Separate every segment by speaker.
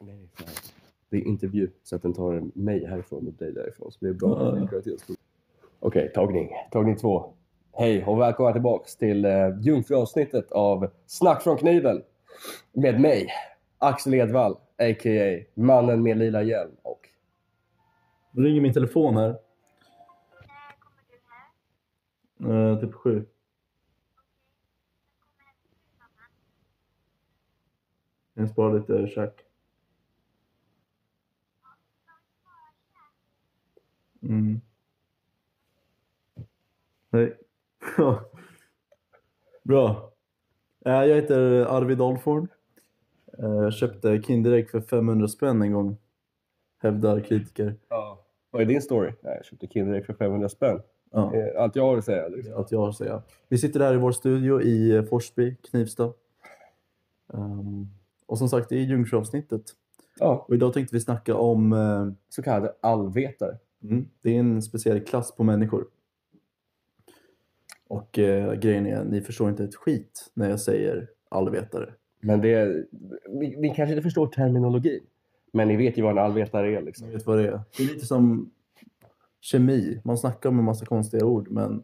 Speaker 1: Nej, fan. Det är intervju, så att den tar mig härifrån och dig därifrån. Så det är bra
Speaker 2: Ja, ja.
Speaker 1: kvalitetsprogram. Okej, tagning. Tagning två. Hej och välkomna tillbaks till eh, jungfruavsnittet av Snack från kniven. Med mig, Axel Edvall, a.k.a. mannen med lila hjälm och
Speaker 2: Nu ringer min telefon här. Eh, typ sju. Jag sparar lite käk. Mm. Nej. Bra. Eh, Jag heter Arvid Alford. Eh, Jag köpte Kinderägg för 500 spänn en gång. Hävdar kritiker.
Speaker 1: Ja. Vad är din story? Nej, Jag köpte Kinderägg för 500 spänn.
Speaker 2: Ja.
Speaker 1: Eh, Allt jag har att säga. Liksom.
Speaker 2: att jag har att säga. Vi sitter här i vår studio i eh, Forsby, Knivsta. Ehm, och som sagt, det är Ljungsjöavsnittet.
Speaker 1: Ja,
Speaker 2: Och idag tänkte vi snacka om, eh,
Speaker 1: så kallade allvetare.
Speaker 2: mm, det är en speciell klass på människor. Och eh, grejen är, ni förstår inte ett skit när jag säger allvetare.
Speaker 1: Men det... Ni, ni kanske inte förstår terminologin. Men ni vet ju vad en allvetare är liksom.
Speaker 2: Ni vet vad det är. Det är lite som kemi. Man snackar om en massa konstiga ord, men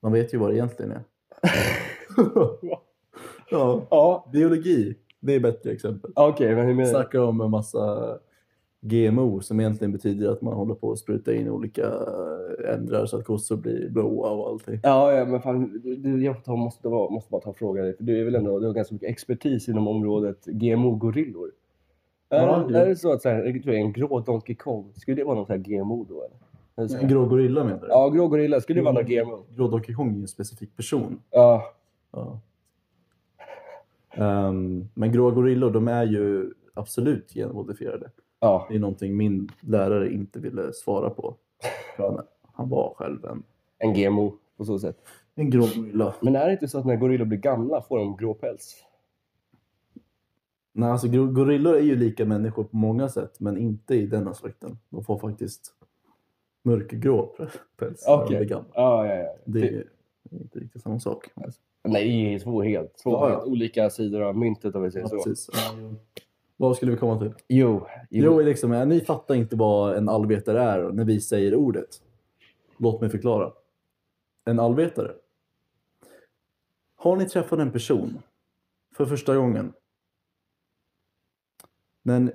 Speaker 2: man vet ju vad det egentligen är. ja,
Speaker 1: Ja,
Speaker 2: biologi. Det är ett bättre exempel.
Speaker 1: okej, men hur menar du?
Speaker 2: snackar om en massa GMO som egentligen betyder att man håller på att spruta in olika eh, ändrar så att kossor blir blåa och allting.
Speaker 1: Ja, ja, men fan, du- du, jag får ta, måste, vara- måste bara ta en fråga dig. För du är väl ändå, du har ganska mycket expertis inom området GMO-gorillor. Är,
Speaker 2: Ja,
Speaker 1: det-
Speaker 2: det-
Speaker 1: är det så att så här, jag tror det är en grå Donkey Kong, skulle det vara någon sån här GMO då eller? eller så här?
Speaker 2: En grå gorilla menar du?
Speaker 1: Ja, grå gorilla, skulle det vara någon GMO?
Speaker 2: Grå Donkey Kong är ju en specifik person.
Speaker 1: Ja,
Speaker 2: Ja. Ehm, men grå gorillor de är ju absolut genmodifierade.
Speaker 1: ja.
Speaker 2: Det är någonting min lärare inte ville svara på. För han- Han var själv en,
Speaker 1: En GMO på så sätt.
Speaker 2: en grå gorilla.
Speaker 1: Men är det inte så att när gorillor blir gamla får de grå päls?
Speaker 2: Nej, alltså gor- gorillor är ju lika människor på många sätt, men inte i den aspekten. De får faktiskt mörkgrå päls när de
Speaker 1: Okej.
Speaker 2: blir gamla.
Speaker 1: Ja, ja, ja.
Speaker 2: Det är inte riktigt samma sak.
Speaker 1: Nej, det är ju två helt, två
Speaker 2: Ja, ja.
Speaker 1: helt olika sidor av myntet om vi säger
Speaker 2: Ja,
Speaker 1: så.
Speaker 2: precis. Ja, jo. Vad skulle vi komma till?
Speaker 1: Jo,
Speaker 2: Jo,
Speaker 1: jo.
Speaker 2: liksom, eh, ni fattar inte vad en allvetare är när vi säger ordet. Låt mig förklara. En allvetare. Har ni träffat en person för första gången? Men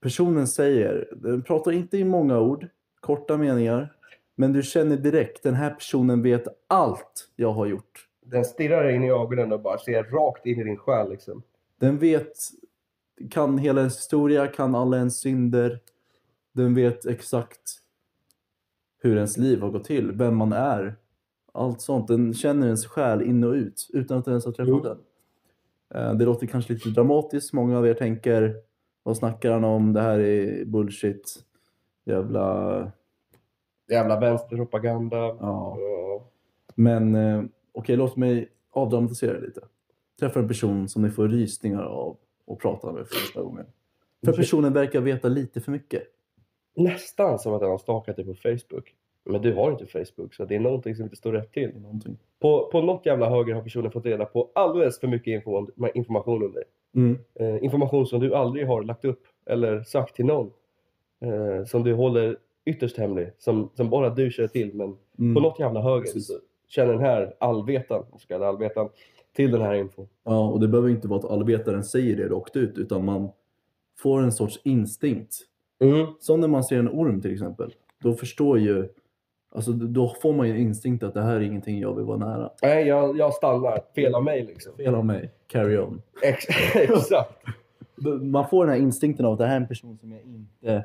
Speaker 2: personen säger, den pratar inte i många ord, korta meningar, men du känner direkt, den här personen vet allt jag har gjort.
Speaker 1: Den stirrar in i ögonen och bara ser rakt in i din själ liksom.
Speaker 2: Den vet, kan hela ens historia, kan alla ens synder. Den vet exakt hur ens liv har gått till, vem man är. Allt sånt. Den känner ens själ in och ut utan att ens ha träffat
Speaker 1: Jo.
Speaker 2: den. Eh, Det låter kanske lite dramatiskt. Många av er tänker, vad snackar han om? Det här är bullshit. Jävla...
Speaker 1: Jävla vänsterpropaganda.
Speaker 2: Ja.
Speaker 1: Ja.
Speaker 2: Men eh, okej, låt mig avdramatisera det lite. Träffa en person som ni får rysningar av och prata med för första gången. För personen verkar veta lite för mycket.
Speaker 1: Nästan som att den har stalkat dig på Facebook. Men du har inte Facebook så det är någonting som inte står rätt
Speaker 2: i
Speaker 1: till.
Speaker 2: någonting.
Speaker 1: På, på något jävla höger har personen fått reda på alldeles för mycket info om, information om dig.
Speaker 2: Mm,
Speaker 1: Eh, information som du aldrig har lagt upp eller sagt till någon. Eh, som du håller ytterst hemlig. Som, som bara du känner till men
Speaker 2: Mm.
Speaker 1: på något jävla höger
Speaker 2: Precis.
Speaker 1: så känner den här allvetaren, den så kallade allvetaren, till den här infon.
Speaker 2: Ja, och det behöver inte vara att allvetaren säger det rakt ut utan man får en sorts instinkt.
Speaker 1: Mm.
Speaker 2: Som när man ser en orm till exempel. Då förstår ju, alltså då får man ju en instinkt att det här är ingenting jag vill vara nära.
Speaker 1: Nej, jag, jag stannar. Fel av mig liksom.
Speaker 2: Fel av mig, carry on.
Speaker 1: Ex- Exakt.
Speaker 2: Man får den här instinkten av att det här är en person som jag inte,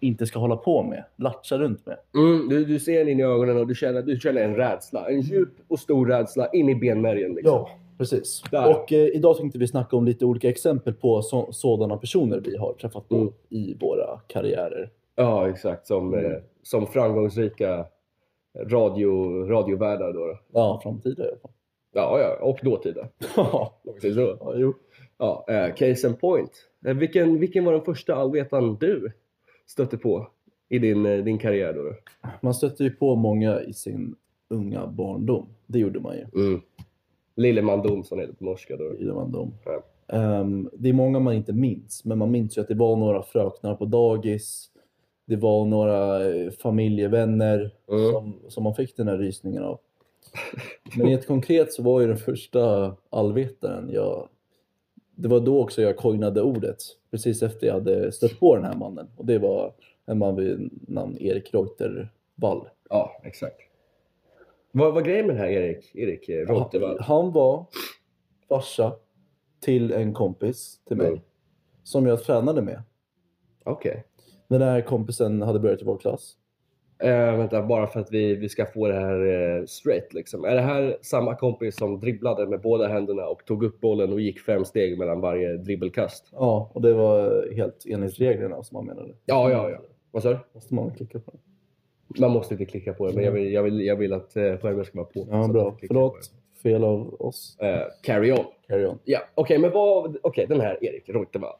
Speaker 2: inte ska hålla på med, latcha runt med.
Speaker 1: Mm, du, du ser den in i ögonen och du känner, du känner en rädsla. En djup och stor rädsla in i benmärgen. Liksom.
Speaker 2: Ja, precis.
Speaker 1: Där.
Speaker 2: Och eh, idag tänkte vi snacka om lite olika exempel på så, sådana personer vi har träffat på
Speaker 1: Mm.
Speaker 2: i våra karriärer.
Speaker 1: Ja, exakt. Som,
Speaker 2: Mm.
Speaker 1: eh, som framgångsrika radio, radiovärdar. Då. då.
Speaker 2: Ja, framtida i alla fall.
Speaker 1: Ja, ja, och dåtida.
Speaker 2: Ja,
Speaker 1: Om vi säger så.
Speaker 2: jo.
Speaker 1: Ja, eh, case in point. Eh, vilken, vilken var den första allvetaren du stötte på i din, eh, din karriär? Då, då?
Speaker 2: Man stötte ju på många i sin unga barndom. Det gjorde man ju.
Speaker 1: Mm. Lilleman Domsson heter det på norska. Då.
Speaker 2: Det gjorde man dem.
Speaker 1: Ja.
Speaker 2: Ehm, det är många man inte minns, men man minns ju att det var några fröknar på dagis. Det var några eh, familjevänner
Speaker 1: Mm.
Speaker 2: som, som man fick den här rysningen av. Men helt konkret så var ju den första allvetaren jag... Det var då också jag coinade ordet, precis efter jag hade stött på den här mannen. Och det var en man vid namn Erik Reutervall.
Speaker 1: Ja, exakt. Vad var grejen med den här Erik, Erik eh, Rotterdam?
Speaker 2: Han var farsa till en kompis till mig
Speaker 1: Mm.
Speaker 2: som jag tränade med.
Speaker 1: Okej.
Speaker 2: Den här kompisen hade börjat i vår klass.
Speaker 1: Eh, vänta, bara för att vi, vi ska få det här eh, straight liksom. Är det här samma kompis som dribblade med båda händerna och tog upp bollen och gick fem steg mellan varje dribbelkast?
Speaker 2: Ja, och det var helt enligt reglerna som han menade.
Speaker 1: Ja, ja, ja. Vad sa du?
Speaker 2: Måste man klicka på.
Speaker 1: Man måste inte klicka på det, men jag vill, jag vill, jag vill att eh, skärmen ska vara på.
Speaker 2: Ja,
Speaker 1: Så att
Speaker 2: bra.
Speaker 1: jag klickar på
Speaker 2: Förlåt. Fel av oss.
Speaker 1: det. Eh, carry on.
Speaker 2: Carry on.
Speaker 1: Ja, okej, men vad... Okej, den här Erik Reutervall.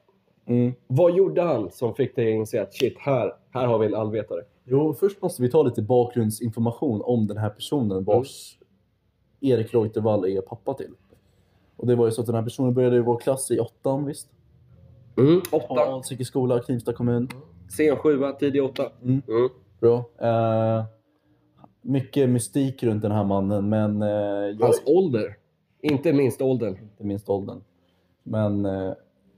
Speaker 2: Mm.
Speaker 1: Vad gjorde han som fick dig att inse att shit, här, här har vi en allvetare?
Speaker 2: Jo, först måste vi ta lite bakgrundsinformation om den här personen vars Erik Reutervall är pappa till. Och det var ju så att den här personen började i vår klass i åttan, visst?
Speaker 1: Mm. Åtta.
Speaker 2: Alsike skola, Knivsta kommun.
Speaker 1: Sen sjua, tidig åtta.
Speaker 2: Mm.
Speaker 1: Mm.
Speaker 2: Bra. Eh, mycket mystik runt den här mannen, men eh, jag
Speaker 1: Hans ålder. Inte minst åldern.
Speaker 2: inte minst åldern. Men eh,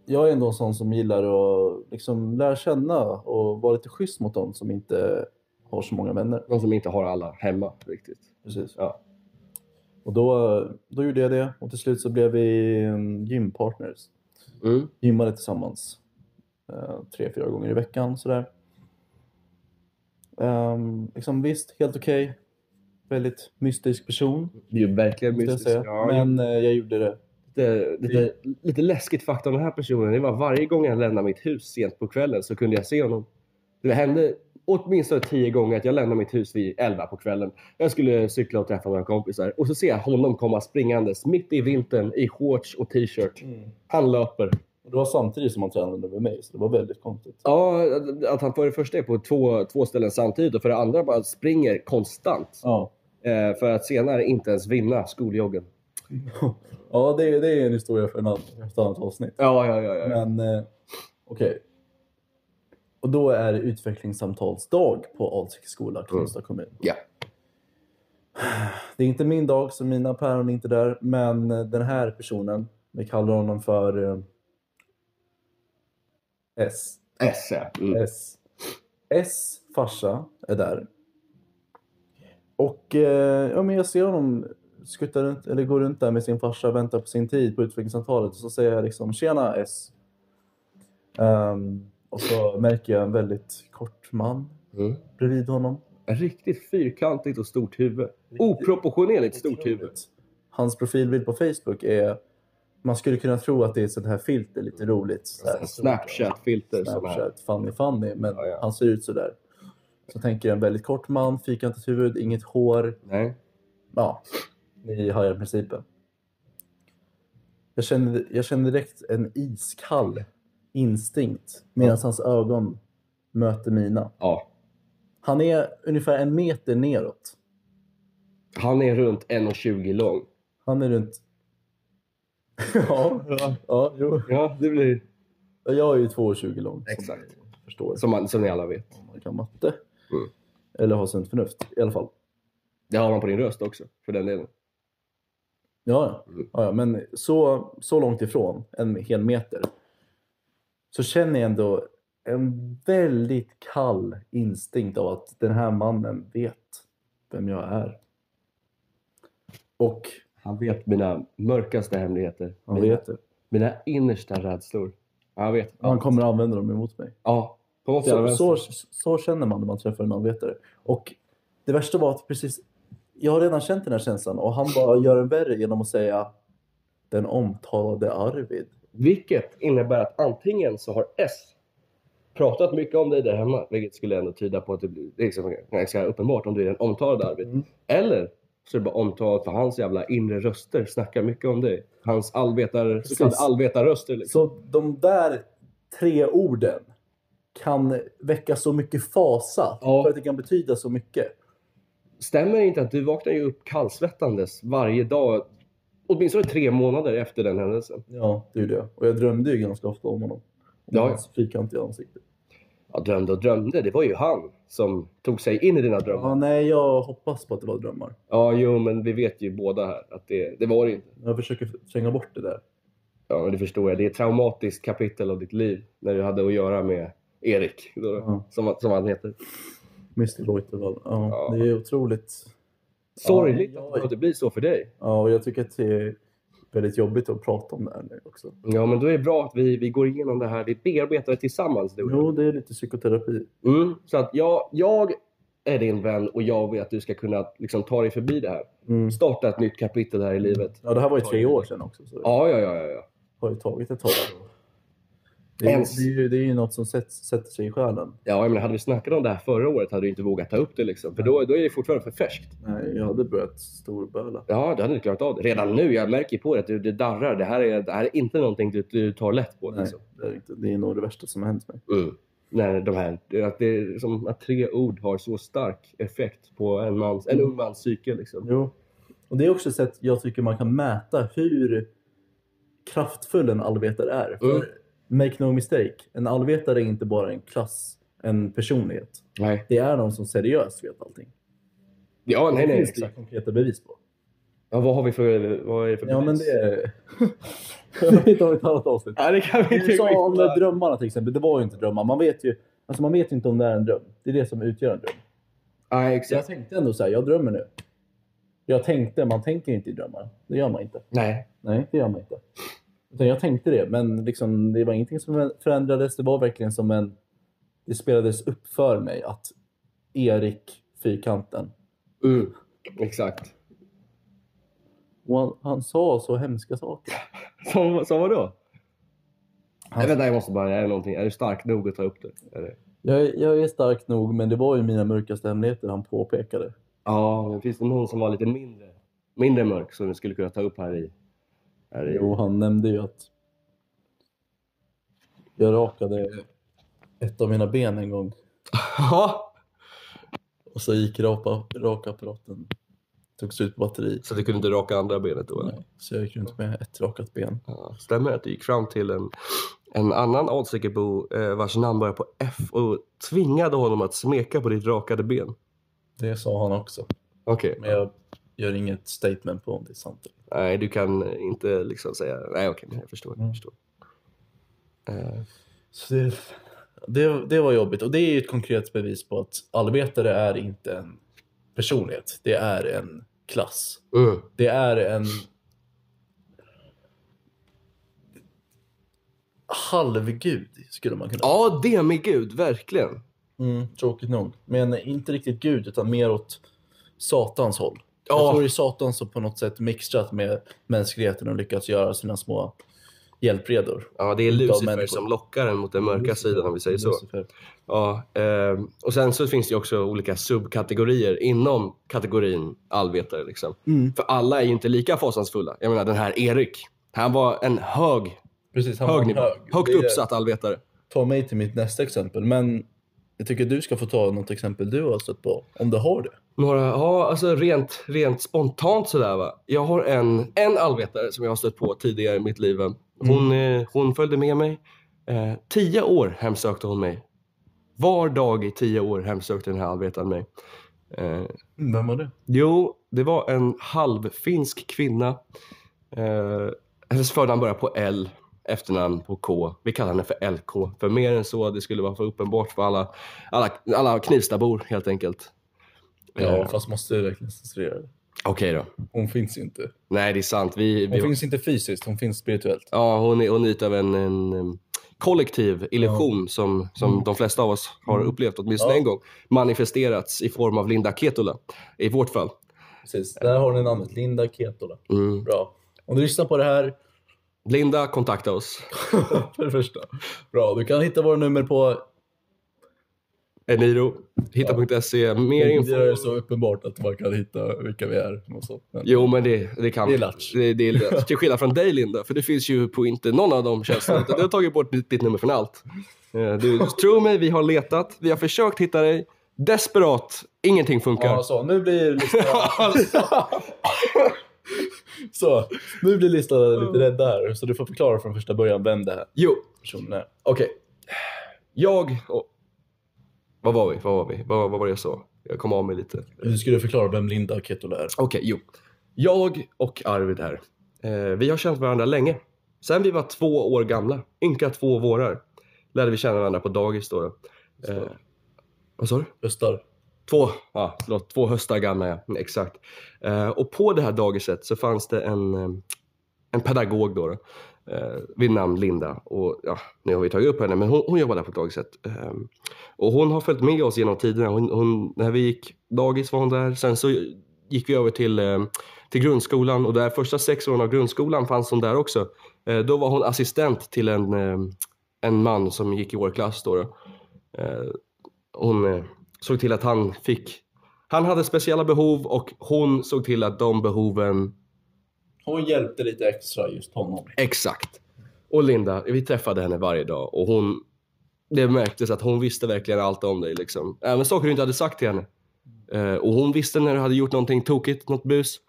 Speaker 2: jag är ändå en sån som gillar att liksom lära känna och vara lite schysst mot dem som inte har så många vänner.
Speaker 1: De som inte har alla hemma riktigt.
Speaker 2: Precis.
Speaker 1: Ja.
Speaker 2: Och då, då gjorde jag det och till slut så blev vi mm, gympartners.
Speaker 1: Mm.
Speaker 2: gymmade tillsammans eh, tre, fyra gånger i veckan. Sådär. Um, liksom, visst, helt okej. Väldigt mystisk person,
Speaker 1: Det är ju verkligen
Speaker 2: måste jag
Speaker 1: mystiskt.
Speaker 2: säga.
Speaker 1: Ja,
Speaker 2: Men eh, jag gjorde det.
Speaker 1: lite, lite, lite läskigt fakta om den här personen det var varje gång jag lämnade mitt hus sent på kvällen så kunde jag se honom. Det hände åtminstone tio gånger att jag lämnade mitt hus vid elva på kvällen. Jag skulle cykla och träffa några kompisar och så ser jag honom komma springandes mitt i vintern i shorts och t-shirt. Han löper.
Speaker 2: Och det var samtidigt som han tränade med mig, så det var väldigt konstigt.
Speaker 1: Ja, att han för det första är på två, två ställen samtidigt och för det andra bara springer konstant.
Speaker 2: Ja,
Speaker 1: Eh, för att senare inte ens vinna skoljoggen.
Speaker 2: ja det, är- det är en historia för en annan, för ett annat avsnitt.
Speaker 1: Ja, ja, ja. ja.
Speaker 2: Men eh, okej. Och då är det utvecklingssamtalsdag på Alsike skola, Knivsta kommun.
Speaker 1: Mm. Ja.
Speaker 2: Det är inte min dag, så mina päron är inte där. Men eh, den här personen, vi kallar honom för eh, S.
Speaker 1: S, ja. Mm.
Speaker 2: S. S farsa är där. Och eh, ja, men jag ser honom skutta runt, eller gå runt där med sin farsa och vänta på sin tid på utvecklingssamtalet. Och så säger jag liksom “Tjena S”. Ehm, och så märker jag en väldigt kort man
Speaker 1: Mm.
Speaker 2: bredvid honom.
Speaker 1: Riktigt fyrkantigt och stort huvud. Oproportionerligt stort huvud.
Speaker 2: Hans profilbild på Facebook är... Man skulle kunna tro att det är ett sånt här filter, lite roligt. så här stort.
Speaker 1: Snapchat-filter. som här.
Speaker 2: Snapchat, Fanny Fanny, men
Speaker 1: Ja, ja.
Speaker 2: han ser ut sådär. Så tänker jag en väldigt kort man, fyrkantigt huvud, inget hår.
Speaker 1: Nej.
Speaker 2: Ja, ni har ju principen. Jag kände, jag kände direkt en iskall instinkt medan hans ögon möter mina.
Speaker 1: Ja.
Speaker 2: Han är ungefär en meter neråt.
Speaker 1: Han är runt 1,20 lång.
Speaker 2: Han är runt... ja, ja, jo.
Speaker 1: Ja, det blir...
Speaker 2: Jag är ju 2,20 lång. som
Speaker 1: Exakt.
Speaker 2: ni Förstår.
Speaker 1: Som, man, som ni alla vet.
Speaker 2: om man kan matte.
Speaker 1: Mm.
Speaker 2: Eller har sunt förnuft i alla fall.
Speaker 1: Det har man på din röst också, för den delen.
Speaker 2: Ja, ja.
Speaker 1: Mm.
Speaker 2: ja, ja. men så, så långt ifrån, en hel meter, så känner jag ändå en väldigt kall instinkt av att den här mannen vet vem jag är. Och
Speaker 1: Han vet mina mörkaste hemligheter.
Speaker 2: han
Speaker 1: mina,
Speaker 2: vet det.
Speaker 1: mina innersta rädslor. Han vet.
Speaker 2: Han kommer använda dem emot mig.
Speaker 1: Ja. På något jävla
Speaker 2: Så, så,
Speaker 1: vänster.
Speaker 2: så känner man när man träffar en avvetare. Och det värsta var att precis... Jag har redan känt den här känslan och han bara gör den värre genom att säga den omtalade Arvid.
Speaker 1: Vilket innebär att antingen så har S pratat mycket om dig där hemma, vilket skulle ändå tyda på att det blir det är liksom, ganska uppenbart om du är den omtalade Arvid.
Speaker 2: Mm.
Speaker 1: Eller så är det bara omtalat för hans jävla inre röster snackar mycket om dig. Hans allvetar, så kallade
Speaker 2: Precis.
Speaker 1: allvetarröster. Liksom.
Speaker 2: Så de där tre orden kan väcka så mycket fasa
Speaker 1: Ja.
Speaker 2: för att det kan betyda så mycket.
Speaker 1: Stämmer det inte att du vaknar ju upp kallsvettandes varje dag åtminstone tre månader efter den händelsen.
Speaker 2: Ja, det är ju det. Och jag drömde ju ganska ofta om honom. Om
Speaker 1: Ja, ja.
Speaker 2: hans fyrkantiga ansikte.
Speaker 1: Jag drömde och drömde, det var ju han som tog sig in i dina drömmar.
Speaker 2: Ja, nej, jag hoppas på att det var drömmar.
Speaker 1: Ja, jo, men vi vet ju båda här att det, det var det inte.
Speaker 2: Jag försöker tränga bort det där.
Speaker 1: Ja, men det förstår jag. Det är ett traumatiskt kapitel av ditt liv när du hade att göra med Erik, då,
Speaker 2: Ja.
Speaker 1: som, som han heter.
Speaker 2: Mr Voiteval. Ja,
Speaker 1: Ja.
Speaker 2: Det är otroligt.
Speaker 1: Sorgligt
Speaker 2: Ja,
Speaker 1: att
Speaker 2: jag-
Speaker 1: det behövde bli så för dig.
Speaker 2: Ja, och jag tycker att det är väldigt jobbigt att prata om det här nu också.
Speaker 1: Ja, men då är det bra att vi, vi går igenom det här. Vi bearbetar det tillsammans. Du och jag.
Speaker 2: Jo, det är lite psykoterapi.
Speaker 1: Mm, så att jag, jag är din vän och jag vill att du ska kunna liksom, ta dig förbi det här.
Speaker 2: Mm.
Speaker 1: Starta ett nytt kapitel här i livet.
Speaker 2: Ja, det här var ju tre år sedan också. Så det
Speaker 1: Ja, ja, ja. ja, ja.
Speaker 2: har ju tagit ett tag. Det är,
Speaker 1: Ens.
Speaker 2: det är, ju, det är ju något som sätts, sätter sig i själen.
Speaker 1: ja jag menar, hade vi snackat om det här förra året hade du inte vågat ta upp det. Liksom, för då, då är det fortfarande för färskt.
Speaker 2: Nej, jag hade börjat storböla.
Speaker 1: Ja, du hade inte klarat av det. Redan nu, jag märker ju på det att du, det darrar. Det här, är, det här är inte någonting du, du tar lätt på.
Speaker 2: Nej,
Speaker 1: Liksom.
Speaker 2: det är, inte, det är nog det värsta som har hänt mig.
Speaker 1: Mm. När de här, att, det är som att tre ord har så stark effekt på en, mans, en ung mans psyke. Liksom.
Speaker 2: Jo. Och det är också ett sätt jag tycker man kan mäta hur kraftfull en allvetare är. För
Speaker 1: Mm.
Speaker 2: make no mistake, en allvetare är inte bara en klass, en personlighet.
Speaker 1: Nej.
Speaker 2: Det är någon som seriöst vet allting.
Speaker 1: Ja, nej,
Speaker 2: det
Speaker 1: nej.
Speaker 2: finns det
Speaker 1: Exakt.
Speaker 2: konkreta bevis på.
Speaker 1: Ja, vad har vi för, vad är det för
Speaker 2: Ja, men
Speaker 1: bevis?
Speaker 2: det är... det tar vi ett annat avsnitt.
Speaker 1: Ja, det kan vi
Speaker 2: Du
Speaker 1: inte
Speaker 2: sa om de
Speaker 1: skita.
Speaker 2: där drömmarna till exempel. Det var ju inte drömmar. Man vet ju, alltså man vet ju inte om det är en dröm. Det är det som utgör en dröm.
Speaker 1: Nej,
Speaker 2: Så jag
Speaker 1: exakt.
Speaker 2: tänkte ändå så här, jag drömmer nu. Jag tänkte, man tänker inte i drömmar. Det gör man inte.
Speaker 1: Nej.
Speaker 2: Nej, det gör man inte. Utan jag tänkte det, men liksom, det var ingenting som förändrades. Det var verkligen som en... Det spelades upp för mig att Erik, fyrkanten,
Speaker 1: Mm. Exakt.
Speaker 2: och han, han sa så hemska saker.
Speaker 1: Som, som vadå?
Speaker 2: Han- Alltså-
Speaker 1: Nej, vänta, jag måste bara, är det någonting? Är du stark nog att ta upp det? Är det?
Speaker 2: Jag, är- jag är stark nog, men det var ju mina mörkaste hemligheter han påpekade.
Speaker 1: Ja, men finns det någon som var lite mindre, mindre mörk som vi skulle kunna ta upp här i? Här i?
Speaker 2: Jo, han nämnde ju att jag rakade ett av mina ben en gång
Speaker 1: Ja.
Speaker 2: och så gick rapa, rakapparaten, togs ut på batteri.
Speaker 1: Så du kunde inte raka andra benet då? Eller?
Speaker 2: Nej, Så jag gick runt med ett rakat ben.
Speaker 1: Ja, stämmer att du gick fram till en, en annan Alsikebo eh, vars namn börjar på F och tvingade honom att smeka på ditt rakade ben?
Speaker 2: Det sa han också.
Speaker 1: Okej.
Speaker 2: Men jag gör inget statement på om det är sant. eller inte.
Speaker 1: Nej, du kan inte liksom säga... Nej, okej, men jag förstår.
Speaker 2: Mm.
Speaker 1: Jag förstår. Eh,
Speaker 2: Så det, det, det var jobbigt. Och det är ju ett konkret bevis på att allvetare är inte en personlighet. Det är en klass.
Speaker 1: mm.
Speaker 2: Det är en halvgud skulle man kunna
Speaker 1: Ja, det med Gud, verkligen.
Speaker 2: mm, Tråkigt nog. Men inte riktigt gud utan mer åt satans håll. Jag
Speaker 1: Ja.
Speaker 2: tror det är satan som på något sätt mixtrat med mänskligheten och lyckats göra sina små hjälpredor.
Speaker 1: Ja, det är
Speaker 2: Utav
Speaker 1: Lucifer
Speaker 2: människor.
Speaker 1: som lockar en mot den mörka sidan om vi säger så.
Speaker 2: Lucifer.
Speaker 1: Ja, ehm, och sen så finns det ju också olika subkategorier inom kategorin allvetare. Liksom.
Speaker 2: Mm.
Speaker 1: För alla är ju inte lika fasansfulla. Jag menar den här Erik, han var en hög,
Speaker 2: Precis, han var
Speaker 1: hög
Speaker 2: hög.
Speaker 1: nivå. Högt
Speaker 2: Det är-
Speaker 1: uppsatt allvetare.
Speaker 2: Ta mig till mitt nästa exempel. Men jag tycker du ska få ta något exempel du har stött på. Om du har det.
Speaker 1: Några, ja, alltså rent, rent spontant sådär va. Jag har en, en allvetare som jag har stött på tidigare i mitt liv.
Speaker 2: Mm.
Speaker 1: Hon, eh, hon följde med mig. Eh, tio år hemsökte hon mig. Var dag i tio år hemsökte den här allvetaren mig. Eh,
Speaker 2: Vem var det?
Speaker 1: jo, det var en halvfinsk kvinna. Eh, hennes förnamn börjar på L, efternamn på K. Vi kallar henne för LK. För mer än så, det skulle vara för uppenbart för alla, alla, alla Knivstabor helt enkelt.
Speaker 2: Ja,
Speaker 1: Eh,
Speaker 2: fast måste du verkligen censurera det?
Speaker 1: Okej då.
Speaker 2: Hon finns ju inte.
Speaker 1: Nej, det är sant. Vi,
Speaker 2: Hon
Speaker 1: vi,
Speaker 2: finns inte fysiskt, hon finns spirituellt.
Speaker 1: ja, hon är hon är utav en, en em, kollektiv illusion som, som de flesta av oss har
Speaker 2: Mm.
Speaker 1: upplevt åtminstone
Speaker 2: Ja.
Speaker 1: en gång. Manifesterats i form av Linda Ketula, i vårt fall.
Speaker 2: Precis. Där har ni namnet, Linda Ketola.
Speaker 1: Mm.
Speaker 2: Bra. Om du lyssnar på det här,
Speaker 1: Linda, kontakta oss.
Speaker 2: för det första. Bra, du kan hitta våra nummer på...
Speaker 1: Eniro, hitta.se, E. mer
Speaker 2: Det är
Speaker 1: info.
Speaker 2: så uppenbart att man kan hitta vilka vi är. Och så. Men,
Speaker 1: Jo, men det, det kan
Speaker 2: Det är latch.
Speaker 1: Det, det är latch. Till skillnad från dig, Linda, för det finns ju på inte någon av de tjänsterna. utan Du har tagit bort ditt, ditt nummer från allt. Eh, Du, tro mig, vi har letat. Vi har försökt hitta dig. Desperat. Ingenting funkar.
Speaker 2: Ja, så, nu blir listan... Så, nu blir listan lite rädd där. Så du får förklara från första början vem det här
Speaker 1: Jo,
Speaker 2: personen är.
Speaker 1: okej. Jag... Och... Vad var vi? Vad var vi? Vad, vad var det jag sa? Jag kom av mig lite.
Speaker 2: Hur skulle du förklara vem Linda Ketula är?
Speaker 1: Okej, jo. Jag och Arvid här. Eh, vi har känt varandra länge. Sen vi var två år gamla, ynka två vårar, lärde vi känna varandra på dagis då. då. Eh, vad sa du?
Speaker 2: Östar.
Speaker 1: Två, ja, förlåt, två höstar gamla, ja. Mm, Exakt. Eh, och på det här dagiset så fanns det en, eh, en pedagog då, då eh, vid namn Linda. Och, ja, nu har vi tagit upp henne, men hon, hon jobbar där på dagiset. Eh, och hon har följt med oss genom tiderna. Hon, hon, när vi gick dagis var hon där. Sen så gick vi över till, eh, till grundskolan och där första sex åren av grundskolan fanns hon där också. Eh, då var hon assistent till en, eh, en man som gick i vår klass. Då, då. Eh, hon eh, såg till att han fick... Han hade speciella behov och hon såg till att de behoven...
Speaker 2: Hon hjälpte lite extra just honom.
Speaker 1: Exakt. Och Linda, vi träffade henne varje dag och hon... Det märktes att hon visste verkligen allt om dig. Liksom. Även saker du inte hade sagt till henne. Eh, och hon visste när du hade gjort någonting tokigt, något bus.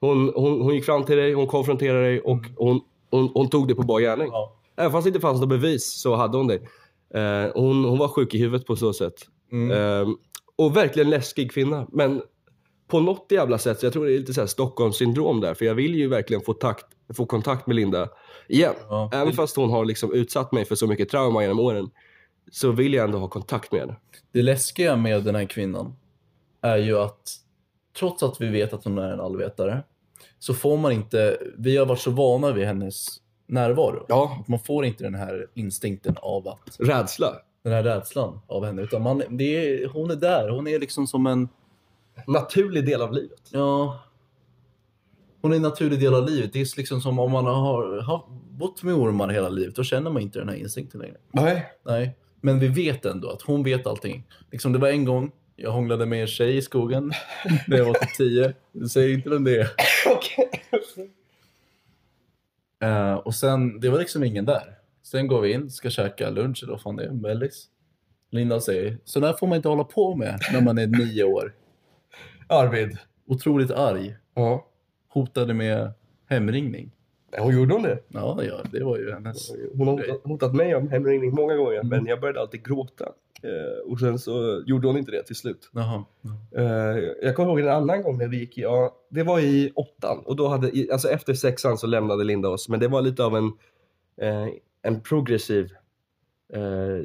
Speaker 1: Hon, hon, hon gick fram till dig, hon konfronterade dig och hon, hon, hon tog det på bar gärning.
Speaker 2: Ja.
Speaker 1: Även fast det inte fanns något bevis så hade hon det. Eh, hon, hon var sjuk i huvudet på så sätt. Ehm, och verkligen läskig kvinna. Men på något jävla sätt, så jag tror det är lite så här Stockholmssyndrom där. För jag vill ju verkligen få, takt, få kontakt med Linda igen.
Speaker 2: Ja.
Speaker 1: Även fast hon har liksom utsatt mig för så mycket trauma genom åren. Så vill jag ändå ha kontakt med henne.
Speaker 2: Det läskiga med den här kvinnan är ju att trots att vi vet att hon är en allvetare så får man inte, vi har varit så vana vid hennes närvaro.
Speaker 1: Ja.
Speaker 2: Man får inte den här instinkten av att,
Speaker 1: Rädsla.
Speaker 2: den här rädslan av henne. Utan man, det är, hon är där, hon är liksom som en,
Speaker 1: Naturlig del av livet.
Speaker 2: ja, hon är en naturlig del av livet. Det är liksom som om man har, har bott med ormar hela livet, då känner man inte den här instinkten längre.
Speaker 1: Nej.
Speaker 2: Nej, men vi vet ändå att hon vet allting. Liksom, det var en gång jag hånglade med en tjej i skogen när jag var typ tio. Säg inte vem det är.
Speaker 1: Okej.
Speaker 2: Eh, och sen, det var liksom ingen där. Sen går vi in, ska käka lunch eller vad fan det är, mellis. Linda säger, så där får man inte hålla på med när man är nio år.
Speaker 1: Arvid.
Speaker 2: Otroligt arg,
Speaker 1: Ja.
Speaker 2: hotade med hemringning.
Speaker 1: Hon gjorde hon det?
Speaker 2: Ja, ja, det var ju hennes.
Speaker 1: Eh, Hon har hotat mig om hemringning många gånger, men jag började alltid gråta. Eh, och sen så gjorde hon inte det till slut.
Speaker 2: Jaha.
Speaker 1: Eh, jag kommer ihåg en annan gång när vi gick i, ja, det var i åttan. Och då hade, i- alltså efter sexan så lämnade Linda oss, men det var lite av en, eh, en progressiv, eh,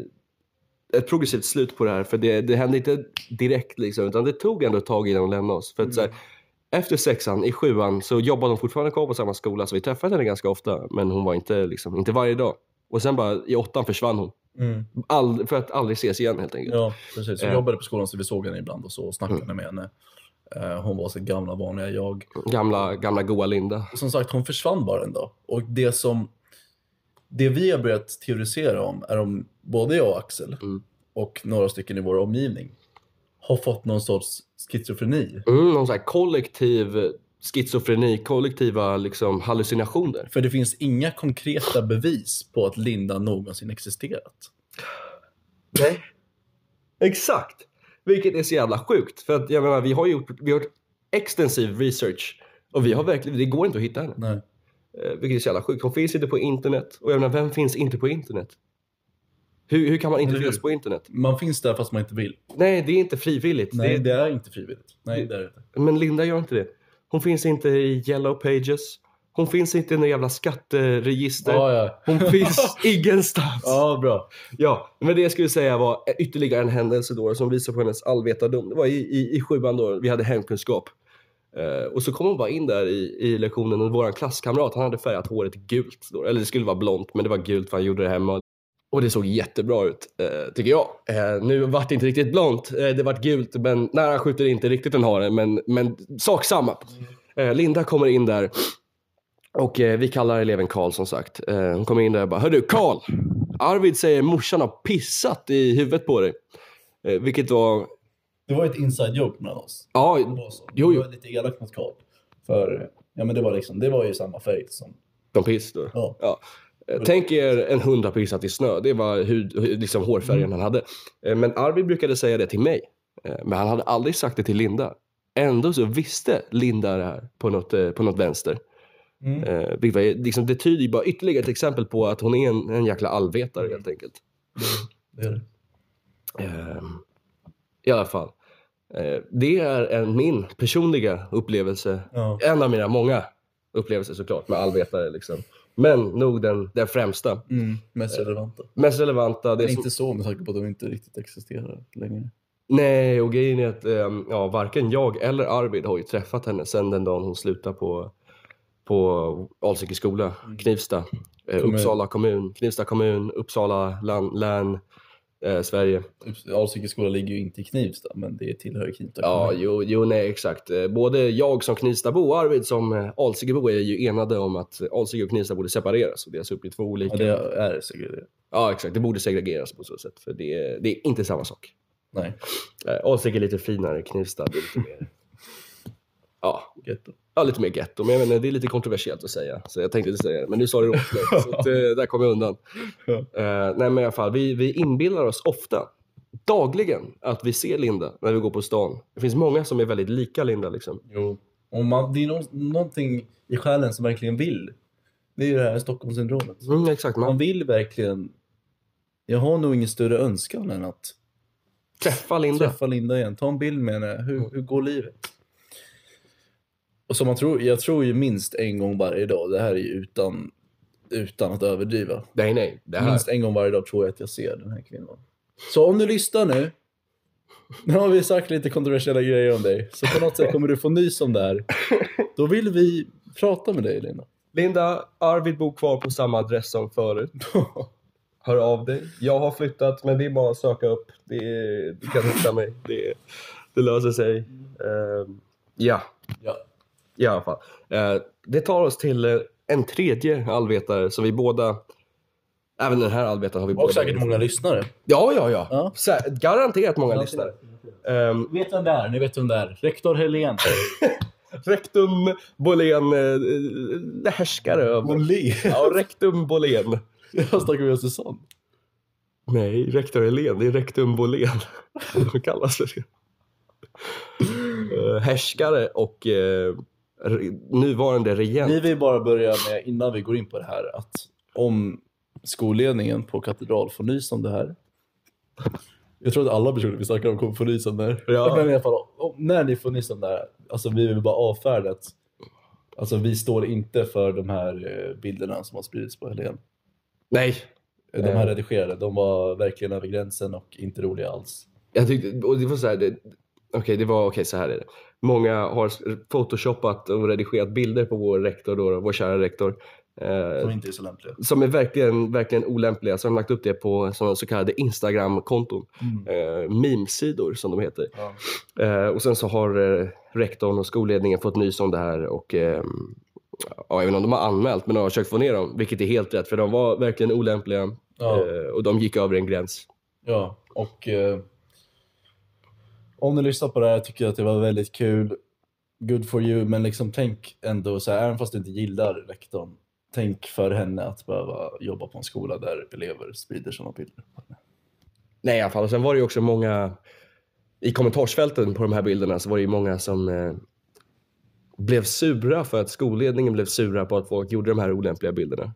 Speaker 1: ett progressivt slut på det här. För det, det hände inte direkt liksom, utan det tog ändå ett tag innan hon lämnade oss. För att, så här, efter sexan, i sjuan, så jobbade hon fortfarande kvar på samma skola, så vi träffade henne ganska ofta. Men hon var inte, liksom, inte varje dag. Och sen bara i åttan försvann hon.
Speaker 2: Mm.
Speaker 1: All, för att aldrig ses igen helt enkelt.
Speaker 2: Ja, precis. Jag
Speaker 1: Eh.
Speaker 2: jobbade på skolan så vi såg henne ibland och så och snackade med henne. Eh, Hon var sin gamla vanliga jag.
Speaker 1: Gamla, gamla goa Linda.
Speaker 2: Och som sagt, hon försvann bara en dag. Och det som det vi har börjat teorisera om är om både jag och Axel
Speaker 1: Mm.
Speaker 2: och några stycken i vår omgivning har fått någon sorts schizofreni.
Speaker 1: Mm, någon sån här kollektiv schizofreni, kollektiva liksom, hallucinationer.
Speaker 2: För det finns inga konkreta bevis på att Linda någonsin existerat.
Speaker 1: Nej. Exakt! Vilket är så jävla sjukt. För att jag menar, vi har gjort, vi har gjort extensiv research och vi har verkligen, det går inte att hitta henne.
Speaker 2: Nej.
Speaker 1: Eh, Vilket är så jävla sjukt. Hon finns inte på internet. Och jag menar, vem finns inte på internet? Hur, hur kan man inte
Speaker 2: Eller hur?
Speaker 1: finnas på internet?
Speaker 2: Man finns där fast man inte vill.
Speaker 1: Nej, det är inte frivilligt.
Speaker 2: Nej,
Speaker 1: Det,
Speaker 2: det är inte frivilligt. Nej, det är det inte.
Speaker 1: men Linda gör inte det. Hon finns inte i yellow pages. Hon finns inte i några jävla skatteregister.
Speaker 2: Ja, ja.
Speaker 1: Hon finns ingenstans.
Speaker 2: Ja, bra.
Speaker 1: Ja, men det jag skulle säga var ytterligare en händelse då som visar på hennes allvetardom. Det var i, i, i sjuan då, vi hade hemkunskap. Eh, och så kom hon bara in där i, i lektionen och vår klasskamrat han hade färgat håret gult. Då. Eller det skulle vara blont, men det var gult för han gjorde det hemma. Och det såg jättebra ut, eh, tycker jag. Eh, nu vart det inte riktigt blont, eh, det vart gult, men när han skjuter inte riktigt en hare, men, men sak samma. Eh, Linda kommer in där och eh, vi kallar eleven Karl som sagt. Eh, hon kommer in där och bara, hördu Karl! Arvid säger morsan har pissat i huvudet på dig. Eh, vilket var,
Speaker 2: Det var ett inside joke mellan oss.
Speaker 1: ja,
Speaker 2: Det var så.
Speaker 1: Jo, jo.
Speaker 2: Det var lite elakt mot Karl. För ja, men det, var liksom, det var ju samma färg som...
Speaker 1: de piss då.
Speaker 2: Ja.
Speaker 1: Ja. Eh, Tänk er en hund har pissat i snö. Det var hud, hud- liksom hårfärgen han hade. Eh, Men Arvid brukade säga det till mig. Eh, Men han hade aldrig sagt det till Linda. Ändå så visste Linda det här på något, eh, på något vänster.
Speaker 2: Mm.
Speaker 1: Eh, vilket var, liksom, det tyder ju bara ytterligare ett exempel på att hon är en, en jäkla allvetare helt enkelt.
Speaker 2: Det är det.
Speaker 1: Ehm, I alla fall. Eh, det är en, min personliga upplevelse.
Speaker 2: Ja.
Speaker 1: En av mina många upplevelser såklart med allvetare. Liksom. Men nog den, den främsta.
Speaker 2: Mm. Mest relevanta.
Speaker 1: Mest relevanta. Det
Speaker 2: Men
Speaker 1: som,
Speaker 2: inte så med tanke på att de inte riktigt existerar längre.
Speaker 1: Nej, och grejen är att ehm, ja, varken jag eller Arvid har ju träffat henne sedan den dagen hon slutade på, på Alsike skola,
Speaker 2: Mm.
Speaker 1: Knivsta, eh,
Speaker 2: Kommun.
Speaker 1: Uppsala kommun, Knivsta kommun, Uppsala län, län eh, Sverige.
Speaker 2: Alsike Typ, skola ligger ju inte i Knivsta, men det tillhör Knivsta
Speaker 1: Ja,
Speaker 2: kommun.
Speaker 1: jo, jo, nej, exakt. Eh, Både jag som Knivstabo och Arvid som eh, Alsikebo är ju enade om att eh, Alsike och Knivsta borde separeras och delas upp i två olika.
Speaker 2: ja, det är säkert det.
Speaker 1: Ja, exakt. Det borde segregeras på så sätt, för det är, det är inte samma sak.
Speaker 2: Nej,
Speaker 1: Eh, Alsike är lite finare, Knivsta det är lite mer... Ja,
Speaker 2: getto.
Speaker 1: Ja, lite mer getto, men jag menar, det är lite kontroversiellt att säga. Så jag tänkte inte säga det, men nu sa du det åt mig. Så att, eh, där kom jag undan.
Speaker 2: Ja.
Speaker 1: Eh, nej, men i alla fall, vi, vi inbillar oss ofta, dagligen, att vi ser Linda när vi går på stan. Det finns många som är väldigt lika Linda. Liksom.
Speaker 2: Jo. Om man, det är nå- någonting i själen som verkligen vill. Det är ju det här Stockholmssyndromet.
Speaker 1: Mm, exakt, man
Speaker 2: Man vill verkligen... Jag har nog ingen större önskan än att
Speaker 1: träffar Linda.
Speaker 2: träffa Linda igen. Ta en bild med henne. Hur, hur går livet? Och som man tror, jag tror ju minst en gång varje dag. Det här är ju utan, utan att överdriva.
Speaker 1: Nej, nej, det här.
Speaker 2: Minst en gång varje dag tror jag att jag ser den här kvinnan. Så om du lyssnar nu. Nu har vi sagt lite kontroversiella grejer om dig. Så på något sätt kommer du få nys om det här. Då vill vi prata med dig Lina.
Speaker 1: Linda, Arvid bor kvar på samma adress som förut. Hör av dig. Jag har flyttat, men det är bara att söka upp. Det är, du kan hitta mig. Det, det löser sig. Ehm, ja.
Speaker 2: Ja.
Speaker 1: i alla fall. Eh, det tar oss till eh, en tredje allvetare som vi båda, även den här allvetaren har vi båda.
Speaker 2: lyssnare.
Speaker 1: Ja, ja, ja.
Speaker 2: Ja.
Speaker 1: Sä- garanterat många lyssnare. Ehm,
Speaker 2: Vet vem det är? Ni vet vem det är. Rektor Helén.
Speaker 1: rektum Bolén, eh, eh, härskare över.
Speaker 2: Molin.
Speaker 1: Ja, rektum Bolén.
Speaker 2: Jag snackar med Susanne.
Speaker 1: Nej, rektor Helén, det är rektum Bolén. De kallas för det. Eh, härskare och eh, re- nuvarande regent.
Speaker 2: Vi vill bara börja med, innan vi går in på det här, att om skolledningen på Katedral får nys om det här. Jag tror att alla personer vi snackar om kommer få nys om det här.
Speaker 1: Ja.
Speaker 2: Men i alla fall, om, när ni får nys om det här, alltså vi vill bara avfärda att alltså, vi står inte för de här eh, bilderna som har spridits på Helen.
Speaker 1: Nej,
Speaker 2: De här redigerade, de var verkligen över gränsen och inte roliga alls.
Speaker 1: Jag tyckte, och det var så här, det, okej, det var, okej så här är det. Många har photoshoppat och redigerat bilder på vår rektor då, vår kära rektor. Eh,
Speaker 2: De inte är så lämpliga.
Speaker 1: som är verkligen, verkligen olämpliga. Så har de lagt upp det på sådana så kallade Instagram-konton.
Speaker 2: Mm.
Speaker 1: Eh, memesidor som de heter.
Speaker 2: Ja.
Speaker 1: Eh, och sen så har eh, rektorn och skolledningen fått nys om det här och eh, ja, även om de har anmält men de har försökt få ner dem, vilket är helt rätt för de var verkligen olämpliga
Speaker 2: Ja.
Speaker 1: eh, och de gick över en gräns.
Speaker 2: Ja, och eh, om ni lyssnar på det här tycker jag att det var väldigt kul. Good for you, men liksom tänk ändå så här, även fast du inte gillar rektorn, tänk för henne att behöva jobba på en skola där elever sprider sådana bilder.
Speaker 1: Nej, i alla fall. Och sen var det ju också många... I kommentarsfälten på de här bilderna så var det ju många som eh, blev sura för att skolledningen blev sura på att folk gjorde de här olämpliga bilderna.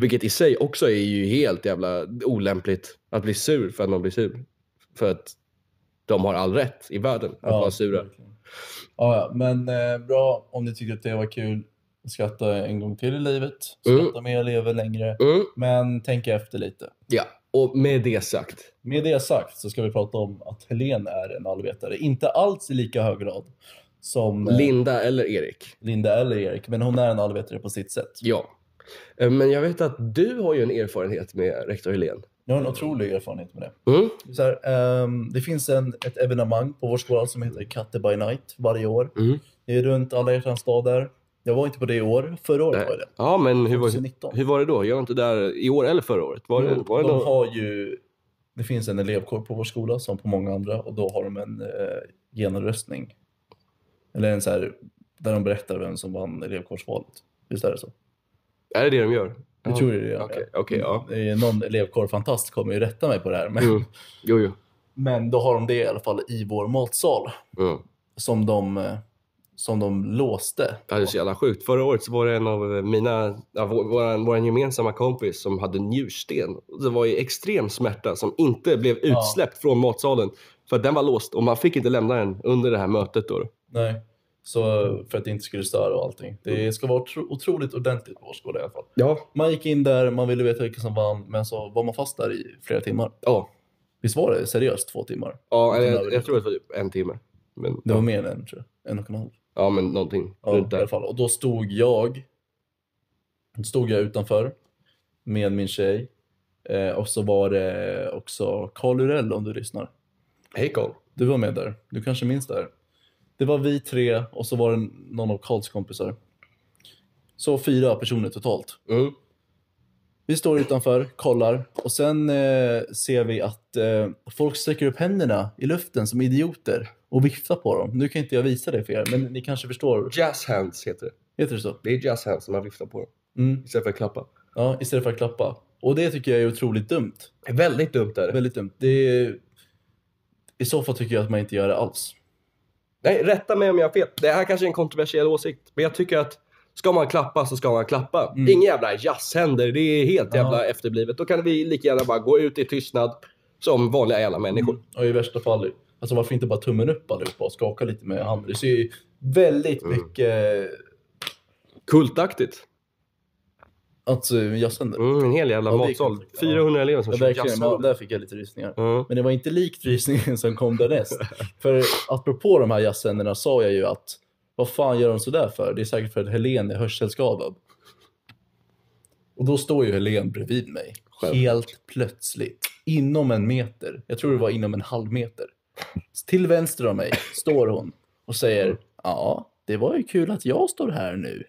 Speaker 1: Vilket i sig också är ju helt jävla olämpligt att bli sur för att någon blir sur. För att de har all rätt i världen att vara sura.
Speaker 2: verkligen. Ja, ja, men eh, bra om ni tyckte att det var kul. Skratta en gång till i livet. Skratta mer, lever längre.
Speaker 1: Mm,
Speaker 2: Men tänk efter lite.
Speaker 1: ja, och med det sagt.
Speaker 2: Med det sagt så ska vi prata om att Helen är en allvetare. Inte alls i lika hög grad som eh,
Speaker 1: Linda eller Erik?
Speaker 2: Linda eller Erik, men hon är en allvetare på sitt sätt.
Speaker 1: Ja. Eh, Men jag vet att du har ju en erfarenhet med rektor Helén.
Speaker 2: Jag har en otrolig erfarenhet med det.
Speaker 1: Mm,
Speaker 2: Så här, ehm, det finns en, ett evenemang på vår skola som heter Katte by Night varje år.
Speaker 1: mm.
Speaker 2: Det är runt alla hjärtans dag där. Jag var inte på det i år, förra året var jag det. Alltså
Speaker 1: Ja, men hur var det?
Speaker 2: 2019.
Speaker 1: Hur var det då? Jag var inte där i år eller förra året. Var det, var det
Speaker 2: de
Speaker 1: någon...
Speaker 2: har ju, det finns en elevkår på vår skola som på många andra och då har de en eh, genomröstning. Eller en så här, där de berättar vem som vann elevkårsvalet. Visst är det så?
Speaker 1: Är det det de gör?
Speaker 2: Jag tror det är det.
Speaker 1: Okej, okej, ja.
Speaker 2: Det är Någon elevkårfantast kommer ju rätta mig på det här. Men...
Speaker 1: Mm. Jo, jo.
Speaker 2: Men då har de det i alla fall i vår matsal.
Speaker 1: Mm.
Speaker 2: som de, eh, som de låste.
Speaker 1: Ja, det är så jävla sjukt. Förra året så var det en av mina, ja, vår, våran, våran gemensamma kompis som hade njursten. Det var i extrem smärta som inte blev
Speaker 2: Ja.
Speaker 1: utsläppt från matsalen. För att den var låst och man fick inte lämna den under det här mötet då.
Speaker 2: Nej. Så för att det inte skulle störa och allting. Det ska vara otro- otroligt ordentligt på Årsgårda i alla fall.
Speaker 1: Ja.
Speaker 2: Man gick in där, man ville veta vilka som vann, men så var man fast där i flera timmar.
Speaker 1: Ja,
Speaker 2: Visst var det seriöst två timmar?
Speaker 1: ja eller jag, jag tror att det var typ en timme. Men,
Speaker 2: Det var mer än en, tror jag. En och en halv.
Speaker 1: ja, men någonting
Speaker 2: Ja,
Speaker 1: runt
Speaker 2: i alla
Speaker 1: där.
Speaker 2: fall. Och då stod jag då stod jag utanför med min tjej. Eh, och så var det också Karl Urell om du lyssnar.
Speaker 1: Hej Carl.
Speaker 2: Du var med där. Du kanske minns det här. Det var vi tre och så var det någon av Karls kompisar. Så fyra personer totalt.
Speaker 1: Mm.
Speaker 2: Vi står utanför, kollar och sen eh, ser vi att eh, folk sträcker upp händerna i luften som idioter och viftar på dem. Nu kan inte jag visa det för er, men ni kanske förstår.
Speaker 1: Jazz hands heter det.
Speaker 2: Heter det så?
Speaker 1: Det är jazz hands när man viftar på dem
Speaker 2: Mm.
Speaker 1: istället för att klappa.
Speaker 2: Ja, istället för att klappa. Och det tycker jag är otroligt dumt.
Speaker 1: Det är väldigt dumt där.
Speaker 2: Väldigt dumt. Det är... I så fall tycker jag att man inte gör det alls.
Speaker 1: Nej, rätta mig om jag har fel. Det här kanske är en kontroversiell åsikt, men jag tycker att ska man klappa så ska man klappa.
Speaker 2: Mm.
Speaker 1: Inga jävla jazzhänder, det är helt
Speaker 2: Ja.
Speaker 1: jävla efterblivet. Då kan vi lika gärna bara gå ut i tystnad som vanliga jävla
Speaker 2: Mm.
Speaker 1: människor.
Speaker 2: Och i värsta fall, alltså varför inte bara tummen upp allihopa och skaka lite med handen? Det ser ju väldigt
Speaker 1: Mm.
Speaker 2: mycket eh,
Speaker 1: Kultaktigt.
Speaker 2: alltså, jazzhänder.
Speaker 1: Mm, en hel jävla
Speaker 2: Ja, det är
Speaker 1: matsal.
Speaker 2: kultaktigt, ja.
Speaker 1: 400 elever som
Speaker 2: Ja,
Speaker 1: kör
Speaker 2: verkligen, ja,
Speaker 1: jazzhänder.
Speaker 2: där fick jag lite rysningar.
Speaker 1: Mm.
Speaker 2: Men det var inte likt rysningen som kom därnäst. för apropå de här jazzhänderna sa jag ju att vad fan gör de sådär för? Det är säkert för att Helen är hörselskadad. Och då står ju Helen bredvid mig.
Speaker 1: Självklart.
Speaker 2: Helt plötsligt. Inom en meter. Jag tror det var inom en halv meter. Till vänster om mig står hon och säger ja, det var ju kul att jag står här nu.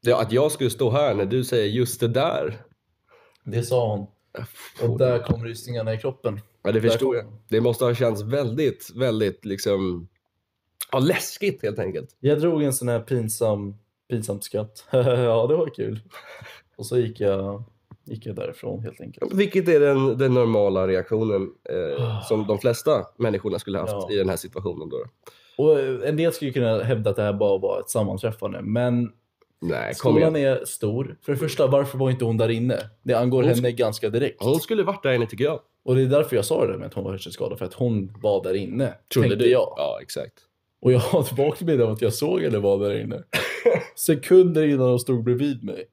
Speaker 1: Ja, att jag skulle stå här när du säger just det där.
Speaker 2: Det sa hon. Och där kom rysningarna i kroppen.
Speaker 1: Ja, det
Speaker 2: Där
Speaker 1: förstår
Speaker 2: kom
Speaker 1: jag.
Speaker 2: hon.
Speaker 1: Det måste ha känts väldigt, väldigt liksom... Ja, läskigt helt enkelt.
Speaker 2: Jag drog en sån här pinsam, pinsamt skratt. ja, det var kul. Och så gick jag, gick jag därifrån helt enkelt.
Speaker 1: Vilket är den, den normala reaktionen eh, som de flesta människorna skulle haft
Speaker 2: Ah. Ja.
Speaker 1: i den här situationen då?
Speaker 2: Och eh, en del skulle kunna hävda att det här bara var ett sammanträffande, men
Speaker 1: Nej, kom
Speaker 2: skolan
Speaker 1: igen.
Speaker 2: är stor. För det första, varför var inte hon där inne? Det angår
Speaker 1: Hon sk-
Speaker 2: henne ganska direkt.
Speaker 1: Hon skulle varit där inne tycker jag.
Speaker 2: Och det är därför jag sa det med att hon var hörselskadad, för att hon var där inne.
Speaker 1: Trodde
Speaker 2: tänkte
Speaker 1: du?
Speaker 2: jag.
Speaker 1: Ja, exakt.
Speaker 2: Och jag har ett vagt minne av att jag såg henne vara där inne. Sekunder innan hon stod bredvid mig.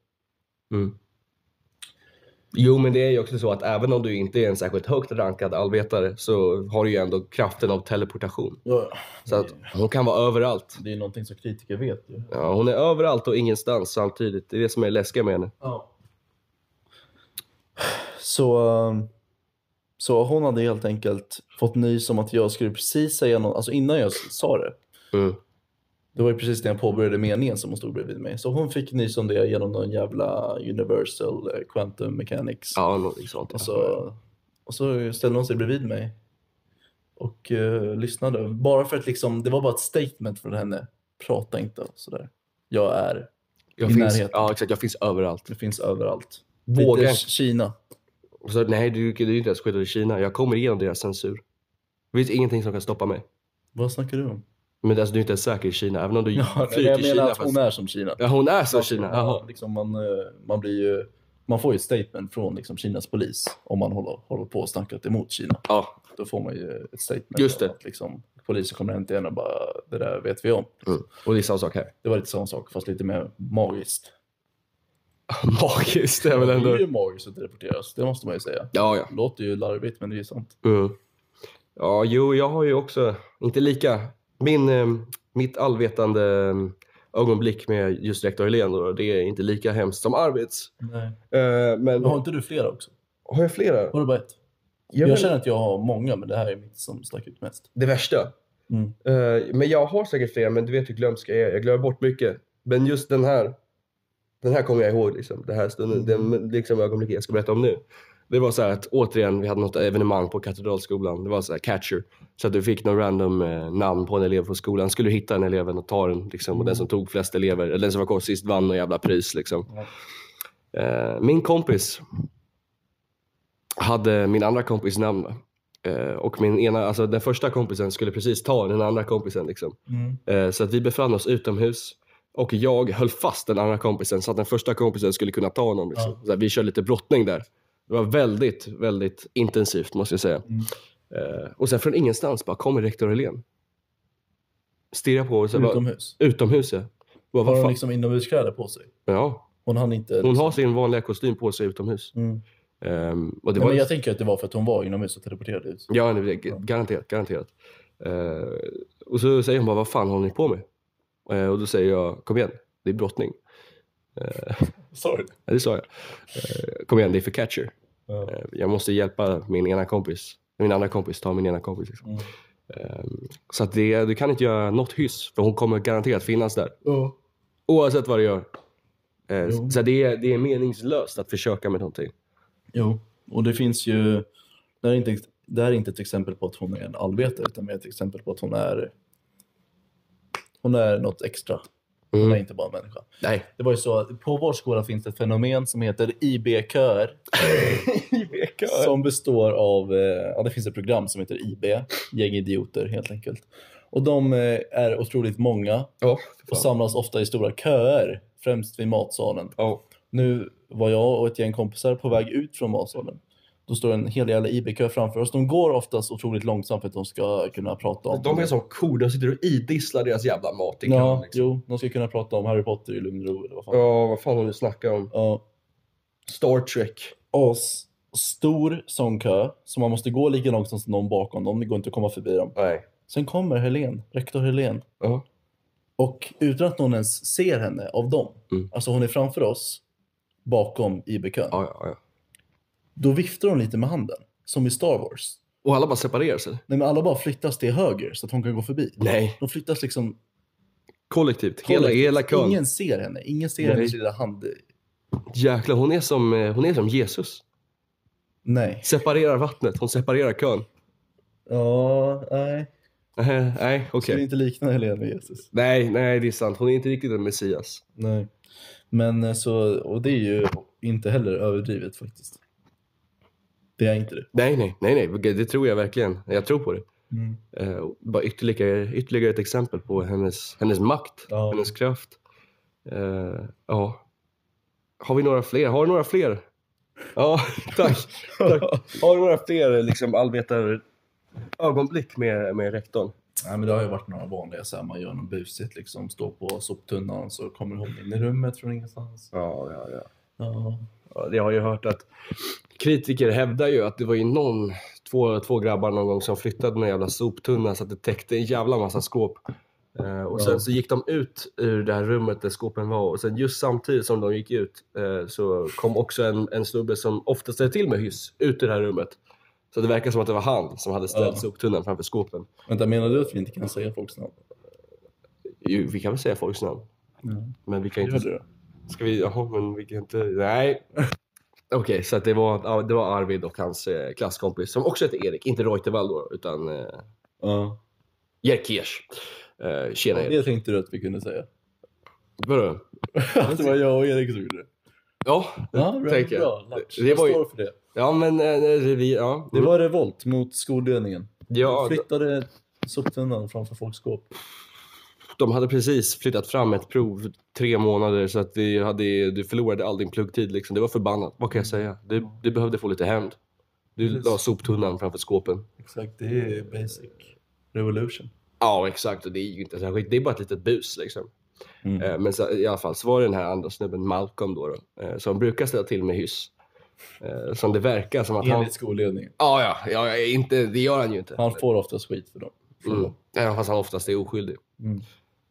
Speaker 1: Mm. Jo, men det är ju också så att även om du inte är en särskilt högt rankad allvetare så har du ju ändå kraften av teleportation.
Speaker 2: Ja,
Speaker 1: Så att hon kan vara överallt.
Speaker 2: Det är någonting som kritiker vet ju.
Speaker 1: Ja, hon är överallt och ingenstans samtidigt. Det är det som är läskigt med henne.
Speaker 2: Ja. Så, eh, så hon hade helt enkelt fått nys om att jag skulle precis säga något, alltså innan jag s- sa det.
Speaker 1: Mm.
Speaker 2: Det var ju precis när jag påbörjade meningen som hon stod bredvid mig. Så hon fick nys om det genom någon jävla universal eh, quantum mechanics.
Speaker 1: Ja, liksom någonting sånt.
Speaker 2: Och, så, och så ställde hon sig bredvid mig. Och eh, lyssnade. Bara för att liksom, det var bara ett statement från henne. Prata inte och sådär. Jag är,
Speaker 1: jag
Speaker 2: i
Speaker 1: finns,
Speaker 2: närheten.
Speaker 1: ja, exakt. Jag finns överallt.
Speaker 2: det finns överallt.
Speaker 1: Våga
Speaker 2: Lite
Speaker 1: inte.
Speaker 2: Kina.
Speaker 1: Och Så, nej, du kan ju inte ens skydda i Kina. Jag kommer igenom deras censur. Det finns ingenting som kan stoppa mig.
Speaker 2: Vad snackar du om?
Speaker 1: Men alltså, du är inte ens säker i Kina, även om du
Speaker 2: Ja,
Speaker 1: flyr
Speaker 2: nej, jag
Speaker 1: till
Speaker 2: menar
Speaker 1: Kina.
Speaker 2: att hon
Speaker 1: är...
Speaker 2: är som Kina.
Speaker 1: Ja, hon är som Kina. Jaha.
Speaker 2: Liksom man, eh, man, blir ju, man får ju ett statement från liksom Kinas polis om man håller, håller på och snackat emot Kina.
Speaker 1: Ja.
Speaker 2: Då får man ju ett statement.
Speaker 1: Just det.
Speaker 2: om Att liksom, polisen kommer hem till en och bara, det där vet vi om.
Speaker 1: Mm. Och det är samma sak här.
Speaker 2: Det var lite samma sak, fast lite mer magiskt.
Speaker 1: Magiskt är väl
Speaker 2: Det
Speaker 1: ändå...
Speaker 2: är ju magiskt att deporteras, det måste man ju säga.
Speaker 1: Ja, ja.
Speaker 2: Det låter ju larvigt, men det är ju sant.
Speaker 1: Mm. Ja, jo, jag har ju också, inte lika, min, eh, mitt allvetande eh, ögonblick med just rektor Helén, då, det är inte lika hemskt som Arvids.
Speaker 2: Nej.
Speaker 1: Eh, men
Speaker 2: Men har inte du flera också?
Speaker 1: har jag flera?
Speaker 2: Har du bara ett?
Speaker 1: Jag
Speaker 2: Jag,
Speaker 1: vet-
Speaker 2: känner att jag har många, men det här är mitt som stack ut mest.
Speaker 1: det värsta?
Speaker 2: Mm.
Speaker 1: Eh, men jag har säkert flera, men du vet hur glömsk jag är. Jag glömmer bort mycket. Men just den här, den här kommer jag ihåg. Liksom, den här stunden, den liksom, ögonblicket jag ska berätta om nu. Det var så här att återigen, vi hade något evenemang på Katedralskolan. Det var så här catcher. Så att du fick någon random eh, namn på en elev från skolan. Skulle du hitta den eleven och ta den. Liksom, och den som tog flest elever, eller den som var kort sist vann någon jävla pris. Liksom. Eh, min kompis hade min andra kompis namn. va? Eh, och min ena, alltså den första kompisen skulle precis ta den andra kompisen. Liksom. Eh, så att vi befann oss utomhus och jag höll fast den andra kompisen så att den första kompisen skulle kunna ta honom. Liksom. Så att vi körde lite brottning där. Det var väldigt, väldigt intensivt måste jag säga.
Speaker 2: Mm.
Speaker 1: Eh, och sen från ingenstans bara kommer rektor Helén. Stirrar på oss. Utomhus,
Speaker 2: Utomhus.
Speaker 1: utomhus ja. Bara,
Speaker 2: Har
Speaker 1: vad
Speaker 2: hon
Speaker 1: fan?
Speaker 2: liksom inomhuskläder på sig?
Speaker 1: ja.
Speaker 2: Hon hann inte...
Speaker 1: Hon har sin vanliga kostym på sig utomhus.
Speaker 2: Mm.
Speaker 1: Ehm, och det
Speaker 2: Nej,
Speaker 1: var
Speaker 2: men jag tänker att det var för att hon var inomhus och teleporterade ut.
Speaker 1: Ja, det, det- garanterat. garanterat. Eh, och så säger hon bara, vad fan håller ni på med? Eh, och då säger jag, kom igen, det är brottning.
Speaker 2: Sorry.
Speaker 1: Ja, det sa jag. Eh, kom igen, det är för catcher.
Speaker 2: Ja.
Speaker 1: Eh, jag måste hjälpa min ena kompis, min andra kompis, ta min ena kompis. Liksom.
Speaker 2: Mm.
Speaker 1: Eh, så att det, du kan inte göra något hyss, för hon kommer garanterat finnas där. Oavsett vad du gör. Eh,
Speaker 2: Jo.
Speaker 1: så det är, det är meningslöst att försöka med någonting.
Speaker 2: Jo, och det finns ju... Det här, är inte, det här är inte ett exempel på att hon är en allvetare utan mer ett exempel på att hon är... Hon är något extra. Hon
Speaker 1: Mm.
Speaker 2: är inte bara en människa.
Speaker 1: Nej.
Speaker 2: Det var ju så att på vår skola finns det ett fenomen som heter IB-köer. Som består av, eh, ja det finns ett program som heter IB, gäng idioter helt enkelt. Och de eh, är otroligt många
Speaker 1: Ja,
Speaker 2: och samlas ofta i stora köer, främst vid matsalen.
Speaker 1: Ja.
Speaker 2: Nu var jag och ett gäng kompisar på väg ut från matsalen. Då står en hel jävla IB-kö framför oss. De går oftast otroligt långsamt för att de ska kunna prata om...
Speaker 1: De är som kor, de sitter och idisslar deras jävla mat i kön.
Speaker 2: Ja,
Speaker 1: liksom.
Speaker 2: jo, de ska kunna prata om Harry Potter i lugn och ro eller vad fan.
Speaker 1: Ja, vad fan har du snackat om?
Speaker 2: Ja.
Speaker 1: Star Trek.
Speaker 2: As stor sån kö, så man måste gå lika långsamt som någon bakom dem. Det går inte att komma förbi dem.
Speaker 1: Nej.
Speaker 2: Sen kommer Helen, rektor Helen.
Speaker 1: Ja.
Speaker 2: Och utan att någon ens ser henne av dem.
Speaker 1: Mm.
Speaker 2: Alltså hon är framför oss, bakom IB-kön.
Speaker 1: Ja, ja, ja.
Speaker 2: Då viftar hon lite med handen, som i Star Wars.
Speaker 1: Och alla bara separerar sig?
Speaker 2: Nej, men alla bara flyttas till höger så att hon kan gå förbi.
Speaker 1: Nej.
Speaker 2: De flyttas liksom...
Speaker 1: Kollektivt. Hela, hela kön.
Speaker 2: Ingen ser henne. Ingen ser
Speaker 1: Nej.
Speaker 2: hennes lilla hand.
Speaker 1: Jäklar, hon är, som, eh, hon är som Jesus.
Speaker 2: Nej.
Speaker 1: Separerar vattnet, hon separerar kön.
Speaker 2: Ja, nej.
Speaker 1: Eh, Nej, okej.
Speaker 2: Skulle inte likna Helene med Jesus.
Speaker 1: Nej, nej, det är sant. Hon är inte riktigt en Messias.
Speaker 2: Nej. Men eh, så, och det är ju inte heller överdrivet faktiskt. Det är inte det.
Speaker 1: Nej, nej, nej, nej. Det tror jag verkligen. Jag tror på det. Eh, bara ytterligare, ytterligare ett exempel på hennes, hennes makt,
Speaker 2: Ja.
Speaker 1: hennes kraft. Eh, ja. Har vi några fler? Har du några fler? Ja, tack. tack. Har du några fler liksom, allvetar ögonblick med, med rektorn?
Speaker 2: Nej, men det har ju varit några vanliga så här, man gör något busigt liksom, står på soptunnan så kommer hon in i rummet från ingenstans.
Speaker 1: Ja, ja, ja.
Speaker 2: Ja.
Speaker 1: ja jag har ju hört att kritiker hävdar ju att det var ju någon, två, två grabbar någon gång som flyttade någon jävla soptunna så att det täckte en jävla massa skåp. Eh, och
Speaker 2: Ja.
Speaker 1: sen så gick de ut ur det här rummet där skåpen var och sen just samtidigt som de gick ut eh, så kom också en, en snubbe som ofta ställde till med hyss ut ur det här rummet. Så det verkar som att det var han som hade ställt
Speaker 2: Ja.
Speaker 1: soptunnan framför skåpen.
Speaker 2: Vänta, menar du att vi inte kan säga folks namn?
Speaker 1: Jo, vi kan väl säga folks namn, men vi kan
Speaker 2: Gör
Speaker 1: inte...
Speaker 2: det då.
Speaker 1: Ska vi... Jaha, men vi kan inte... Nej. Okej, så att det, var, ja, det var Arvid och hans eh, klasskompis som också hette Erik. Inte Reutervall då, utan eh,
Speaker 2: Ja.
Speaker 1: Jerkers. Eh, tjena Erik.
Speaker 2: Det tänkte du att vi kunde säga.
Speaker 1: Vadå?
Speaker 2: Att det var jag och Erik som gjorde det.
Speaker 1: Ja,
Speaker 2: Ja, bra.
Speaker 1: tänker jag.
Speaker 2: bra. Lars.
Speaker 1: Det- det var ju-
Speaker 2: Jag står för det.
Speaker 1: ja men eh, vi... Ja.
Speaker 2: Det var revolt mot skolledningen.
Speaker 1: ja,
Speaker 2: De flyttade soptunnan framför folks skåp.
Speaker 1: de hade precis flyttat fram ett prov tre månader så att det hade, du förlorade all din pluggtid. Liksom. Det var förbannat. Vad kan jag säga? Du, du behövde få lite hämnd. Du la soptunnan framför skåpen.
Speaker 2: Exakt, det är basic revolution.
Speaker 1: Ja, exakt. Och det är ju inte särskilt. Det är bara ett litet bus liksom.
Speaker 2: Mm.
Speaker 1: Eh, Men så, i alla fall så var det den här andra snubben, Malcolm då, då eh, som brukar ställa till med hyss. Eh, Som det verkar som att han...
Speaker 2: Enligt skolledningen.
Speaker 1: Ja, ja, ja, ja, inte, det gör han ju inte.
Speaker 2: Han får ofta skit för dem.
Speaker 1: Mm. Även fast han oftast är oskyldig.
Speaker 2: Mm.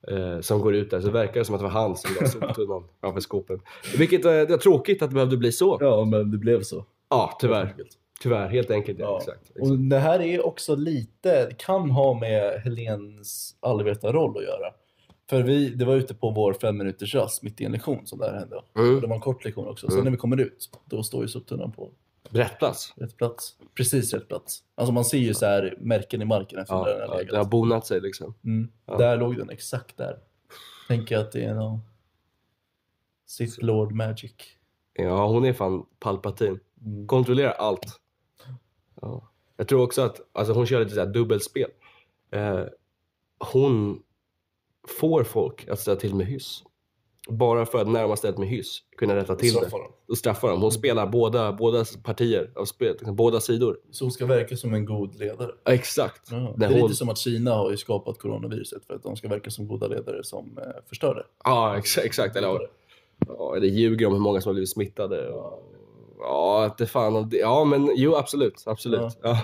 Speaker 1: Eh, Som går ut där, så det verkar det som att det var han som la soptunnan framför skåpen. Vilket eh, det är tråkigt att det behövde bli så. Ja,
Speaker 2: Ja, men det blev så.
Speaker 1: tyvärr. Tyvärr, helt enkelt. Ja,
Speaker 2: Ja.
Speaker 1: Exakt. exakt.
Speaker 2: Och det här är också lite, det kan ha med Helens allvetarroll att göra. För vi, det var ute på vår fem minuters rast mitt i en lektion som det här hände. Och
Speaker 1: Mm.
Speaker 2: det var en kort lektion också. Så
Speaker 1: Mm.
Speaker 2: när vi kommer ut, då står ju soptunnan på
Speaker 1: Rätt plats.
Speaker 2: rätt plats. Precis rätt plats. Alltså man ser ju så här märken i marken efter
Speaker 1: Ja,
Speaker 2: där den
Speaker 1: ja,
Speaker 2: har
Speaker 1: det har
Speaker 2: legat.
Speaker 1: bonat sig liksom.
Speaker 2: Mm.
Speaker 1: Ja.
Speaker 2: Där låg den, exakt där. Tänker att det är någon... Sith Lord Magic.
Speaker 1: Ja, hon är fan Palpatine.
Speaker 2: Mm.
Speaker 1: Kontrollerar allt. Ja. Jag tror också att alltså hon kör lite så här dubbelspel. Eh, hon får folk att ställa till med hyss. Bara för att närma stället med hyss kunna rätta till det.
Speaker 2: Straffa dem.
Speaker 1: Då straffar de.
Speaker 2: Mm.
Speaker 1: Hon spelar båda, båda partier av spelet, liksom båda sidor.
Speaker 2: Så hon ska verka som en god ledare.
Speaker 1: Ja, exakt.
Speaker 2: Ja, det
Speaker 1: När
Speaker 2: är lite
Speaker 1: hon-
Speaker 2: som att Kina har ju skapat coronaviruset för att de ska verka som goda ledare som eh, förstör det.
Speaker 1: Ja, exakt. exakt. Eller, ja, ja, eller ljuger om hur många som har blivit smittade. Ja, ja inte fan. om det- Ja, men jo, absolut. absolut. Ja.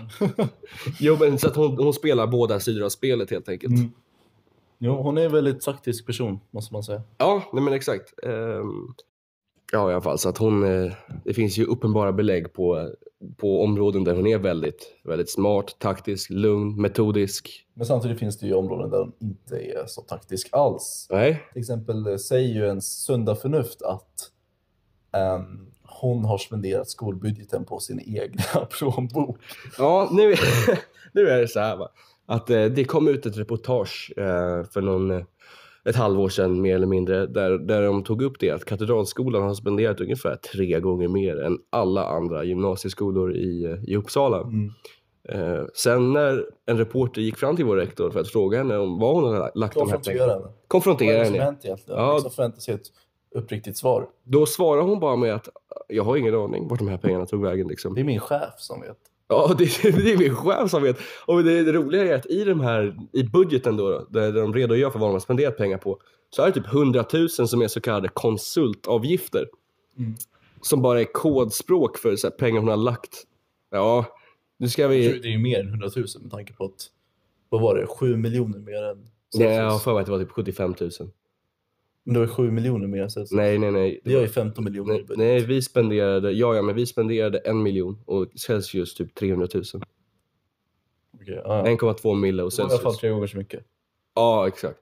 Speaker 1: Jo, men så att hon, hon spelar båda sidor av spelet helt enkelt.
Speaker 2: Mm. Jo, hon är en väldigt taktisk person, måste man säga.
Speaker 1: Ja, nej men exakt. Ehm, ja, i alla fall så att hon, eh, det finns ju uppenbara belägg på, på områden där hon är väldigt, väldigt smart, taktisk, lugn, metodisk.
Speaker 2: Men samtidigt finns det ju områden där hon inte är så taktisk alls.
Speaker 1: Nej,
Speaker 2: Till exempel eh, säger ju ens sunda förnuft att ehm, hon har spenderat skolbudgeten på sin egna plånbok.
Speaker 1: Ja, nu, nu är det så här va. Att eh, det kom ut ett reportage eh, för någon, eh, ett halvår sedan mer eller mindre där, där de tog upp det att Katedralskolan har spenderat ungefär tre gånger mer än alla andra gymnasieskolor i, eh, i Uppsala.
Speaker 2: Mm.
Speaker 1: Eh, sen när en reporter gick fram till vår rektor för att fråga henne om vad hon hade lagt de här pengarna.
Speaker 2: Konfrontera
Speaker 1: Konfrontera
Speaker 2: henne. Vad är det som
Speaker 1: henne.
Speaker 2: hänt egentligen?
Speaker 1: Ja.
Speaker 2: Liksom förväntar sig ett uppriktigt svar.
Speaker 1: Då svarar hon bara med att jag har ingen aning vart de här pengarna tog vägen liksom.
Speaker 2: Det är min chef som vet.
Speaker 1: Ja, det, det är min chef som vet. Och det, det roliga är att i, de här, i budgeten då, då, där de redogör för vad de har spenderat pengar på, så är det typ 100 000 som är så kallade konsultavgifter.
Speaker 2: Mm.
Speaker 1: Som bara är kodspråk för så här, pengar hon har lagt. Ja, nu ska
Speaker 2: Jag tror
Speaker 1: vi...
Speaker 2: det är ju mer än 100 000 med tanke på att, vad var det, 7 miljoner mer än
Speaker 1: Nej, jag har för mig att det var typ 75 000.
Speaker 2: Men det var 7 miljoner mer än Celsius.
Speaker 1: Nej, nej, nej. Det
Speaker 2: Vi har ju
Speaker 1: var,
Speaker 2: 15 miljoner i
Speaker 1: nej,
Speaker 2: budget.
Speaker 1: nej, vi spenderade... Ja, ja, men vi spenderade en miljon och Celsius typ 300 000.
Speaker 2: Okej, ja, ja.
Speaker 1: 1,2 mille och
Speaker 2: Det var i alla fall
Speaker 1: Celsius.
Speaker 2: tre gånger så mycket.
Speaker 1: Ja, exakt.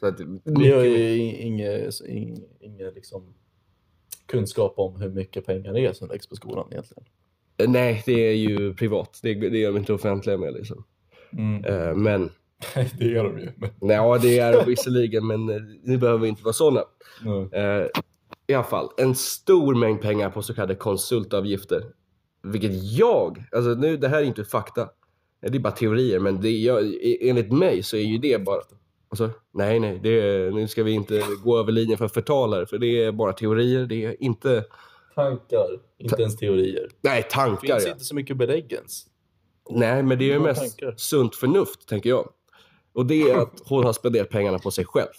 Speaker 1: Så att,
Speaker 2: Vi har ju ingen ing, ing, liksom, kunskap om hur mycket pengar det är som läggs på skolan egentligen.
Speaker 1: Nej, det är ju privat. Det, det är de inte offentliga med. Liksom. Eh, men,
Speaker 2: Nej, Mm. det gör de ju. Men,
Speaker 1: nej, ja, det är de visserligen, men eh, nu behöver vi inte vara sådana.
Speaker 2: Mm.
Speaker 1: Eh, I alla fall, en stor mängd pengar på så kallade konsultavgifter. Vilket jag, alltså nu, det här är inte fakta. Eh, Det är bara teorier, men det, jag, e- enligt mig så är ju det bara... Alltså, nej, nej, det, är- nu ska vi inte gå över linjen för förtalare, för det är bara teorier. Det är inte...
Speaker 2: Tankar, inte ens teorier.
Speaker 1: Nej,
Speaker 2: Det
Speaker 1: tankar
Speaker 2: finns
Speaker 1: ja.
Speaker 2: inte så mycket belägg ens.
Speaker 1: Nej, men det är ju
Speaker 2: Bra
Speaker 1: mest
Speaker 2: tankar.
Speaker 1: sunt förnuft, tänker jag. Och det är att hon har spenderat pengarna på sig själv.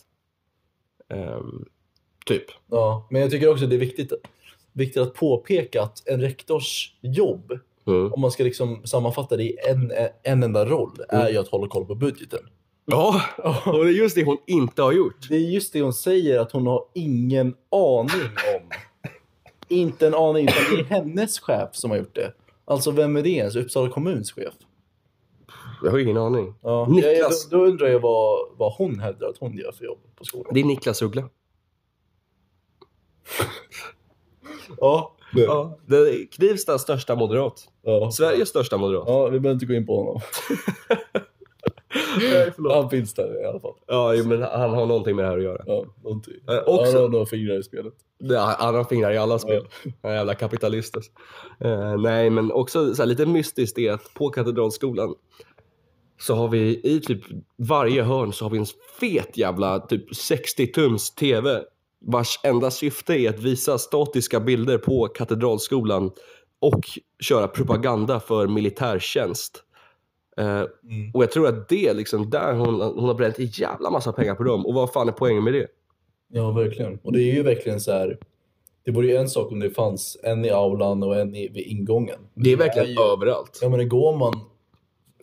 Speaker 1: Ehm, typ.
Speaker 2: Ja, men jag tycker också det är viktigt, viktigt att påpeka att en rektors jobb,
Speaker 1: Mm.
Speaker 2: om man ska liksom sammanfatta det i en, en enda roll, är ju att hålla koll på budgeten.
Speaker 1: Ja, och det är just det hon inte har gjort.
Speaker 2: Det är just det hon säger, att hon har ingen aning om. Inte en aning, utan det är hennes chef som har gjort det. Alltså vem är det ens? Uppsala kommuns chef?
Speaker 1: Jag har ingen aning.
Speaker 2: Ja.
Speaker 1: Niklas.
Speaker 2: Jag, då, då undrar jag vad, vad hon hävdar att hon gör för jobb på skolan.
Speaker 1: Det är Niklas Uggla.
Speaker 2: Ja, ja.
Speaker 1: Ja. Det är Knivstas största moderat.
Speaker 2: ja.
Speaker 1: Sveriges största moderat.
Speaker 2: ja vi behöver inte gå in på honom.
Speaker 1: Nej, förlåt.
Speaker 2: Han finns där i alla fall.
Speaker 1: Ja, jo, men han har någonting med det här att göra.
Speaker 2: Ja, någonting.
Speaker 1: Eh,
Speaker 2: Ja,
Speaker 1: också,
Speaker 2: Han har några fingrar i spelet.
Speaker 1: Det har- Han har fingrar i alla spel. Den jävla kapitalisten. Eh, nej, men också så här, lite mystiskt är att på Katedralskolan så har vi i typ varje hörn så har vi en fet jävla typ 60-tums TV vars enda syfte är att visa statiska bilder på Katedralskolan och köra propaganda för militärtjänst. Eh,
Speaker 2: Mm.
Speaker 1: och jag tror att det är liksom där hon, hon har bränt en jävla massa pengar på dem. Och vad fan är poängen med det?
Speaker 2: Ja, verkligen. Och det är ju verkligen så här. Det vore ju en sak om det fanns en i aulan och en i, vid ingången.
Speaker 1: Det är verkligen
Speaker 2: Det är ju-
Speaker 1: överallt.
Speaker 2: Ja, men går man,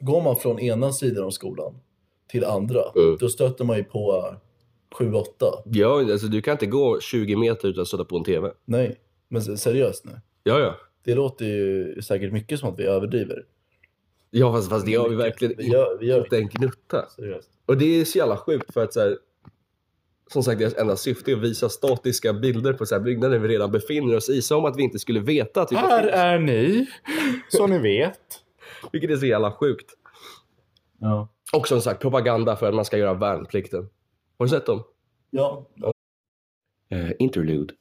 Speaker 2: går man från ena sidan av skolan till andra,
Speaker 1: Mm.
Speaker 2: då stöter man ju på 7-8.
Speaker 1: Ja, alltså du kan inte gå 20 meter utan att sätta på en TV.
Speaker 2: Nej, men se- seriöst nu.
Speaker 1: Ja, ja.
Speaker 2: Det låter ju säkert mycket som att vi överdriver.
Speaker 1: Ja, fast, fast det har vi verkligen
Speaker 2: Vi gör, vi gör
Speaker 1: inte en gnutta.
Speaker 2: seriöst.
Speaker 1: Och det är så jävla sjukt för att så här, som sagt, deras enda syfte är att visa statiska bilder på så här byggnader vi redan befinner oss i, som att vi inte skulle veta typ. att vi befinner oss
Speaker 2: är ni, så ni vet.
Speaker 1: Vilket är så jävla sjukt.
Speaker 2: Ja.
Speaker 1: Och som sagt, propaganda för att man ska göra värnplikten. Har du sett dem?
Speaker 2: Ja.
Speaker 1: Eh, interlude.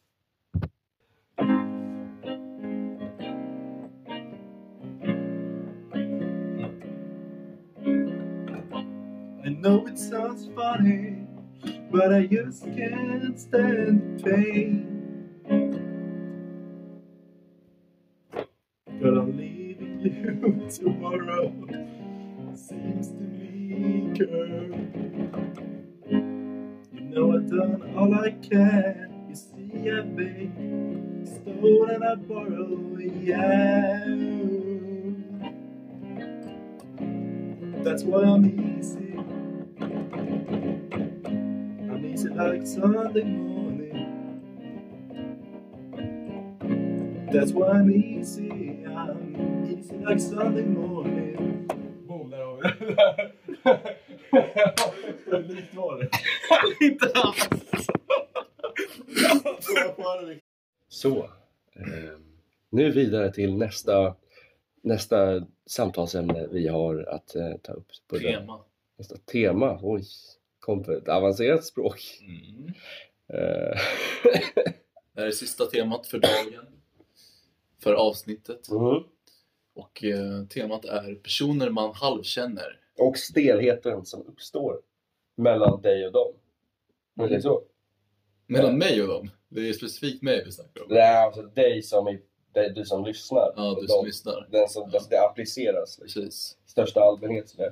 Speaker 2: know it sounds funny, but I just can't stand pain. But I'm leaving you tomorrow. Seems to be curved. You know I've done all I can. You see, I beg, stole and I borrow, yeah. That's why I'm easy. I'm easy like Sunday morning. That's why I'm easy. I'm easy like Sunday morning. Boom, där har vi det. Hur likt var det? Inte alls.
Speaker 1: Så. Eh, nu vidare till nästa, nästa samtalsämne vi har att eh, ta upp. på det-
Speaker 2: Tema.
Speaker 1: Nästa tema. Oj, kom på ett avancerat språk.
Speaker 2: Mm.
Speaker 1: Eh,
Speaker 2: Det här är sista temat för dagen. För avsnittet. Och eh, temat är personer man halvkänner.
Speaker 1: Och stelheten som uppstår mellan dig och dem. Om vi
Speaker 2: Mm-hmm.
Speaker 1: säger så.
Speaker 2: Mellan mig och dem. Det är specifikt mig vi snackar om.
Speaker 1: Nej, alltså dig som, är, dig, du som lyssnar.
Speaker 2: Ja,
Speaker 1: och
Speaker 2: du
Speaker 1: dem-
Speaker 2: som lyssnar.
Speaker 1: Den som, alltså, det appliceras i
Speaker 2: Precis.
Speaker 1: största allmänhet. Så där.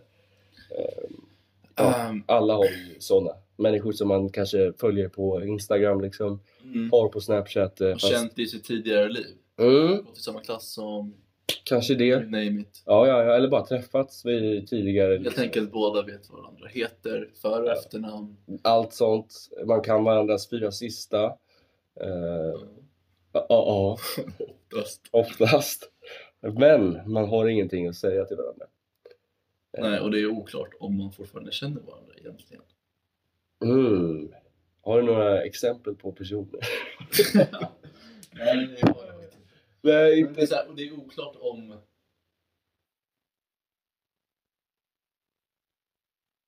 Speaker 1: Ja.
Speaker 2: Ehm,
Speaker 1: Alla har ju sådana. Människor som man kanske följer på Instagram, liksom,
Speaker 2: mm,
Speaker 1: har på Snapchat. eh,
Speaker 2: har känt i sitt tidigare liv.
Speaker 1: Mm,
Speaker 2: Gått i samma klass som,
Speaker 1: kanske det.
Speaker 2: you name it.
Speaker 1: Ja, ja, ja, eller bara träffats vid tidigare.
Speaker 2: Helt enkelt båda vet vad varandra heter, för och efternamn.
Speaker 1: Allt sånt. Man kan varandras fyra sista. Eh, Ja, ja,
Speaker 2: Oftast.
Speaker 1: oftast. Men man har ingenting att säga till varandra. Eh,
Speaker 2: Nej, och det är oklart om man fortfarande känner varandra egentligen.
Speaker 1: Mm. Har du några exempel på personer?
Speaker 2: Nej, det har jag inte.
Speaker 1: Nej,
Speaker 2: Men Det är,
Speaker 1: inte...
Speaker 2: så här, och det är oklart om...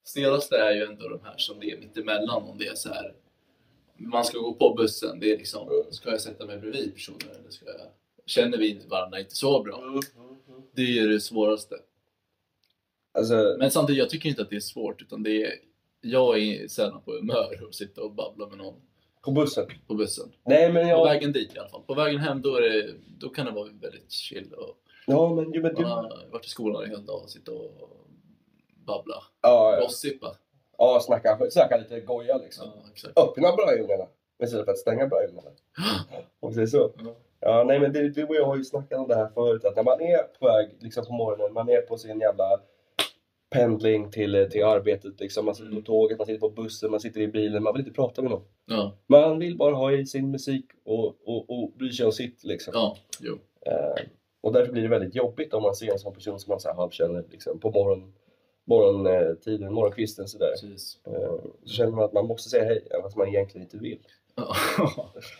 Speaker 2: Snällaste är ju ändå de här som det är mittemellan. Om det är så här, man ska gå på bussen, det är liksom, ska jag sätta mig bredvid personen eller ska jag... Känner vi varandra inte så bra? Det är det svåraste.
Speaker 1: Alltså,
Speaker 2: Men samtidigt, jag tycker inte att det är svårt, utan det är... Jag är sällan på humör att sitta och babbla med någon
Speaker 1: på bussen?
Speaker 2: på bussen.
Speaker 1: Nej, men
Speaker 2: På
Speaker 1: jag...
Speaker 2: vägen dit i alla fall. På vägen hem, då, är det, då kan det vara väldigt chill och
Speaker 1: Ja, men, jo, men du...
Speaker 2: Man har varit i skolan en hel dag och sitta och babbla.
Speaker 1: Ja,
Speaker 2: Gossipa.
Speaker 1: ja snacka, snacka lite goja liksom.
Speaker 2: Ja, exakt.
Speaker 1: Öppna bröjorna istället för att stänga bröjorna. Om vi säger så.
Speaker 2: Ja.
Speaker 1: Ja, nej, men du, du och jag har ju snackat om det här förut, att när man är på väg liksom på morgonen, man är på sin jävla pendling till, till arbetet, liksom. man sitter på
Speaker 2: Mm.
Speaker 1: tåget, man sitter på bussen, man sitter i bilen, man vill inte prata med någon.
Speaker 2: Ja,
Speaker 1: Man vill bara ha i sin musik och, och, och bry sig om sitt. Liksom.
Speaker 2: ja, jo.
Speaker 1: Eh, och därför blir det väldigt jobbigt om man ser en sån person som man så här halvkänner liksom, på morgon, morgontiden, morgonkvisten. Så, där.
Speaker 2: Precis.
Speaker 1: Eh, så känner man att man måste säga hej, även fast man egentligen inte vill.
Speaker 2: Ja.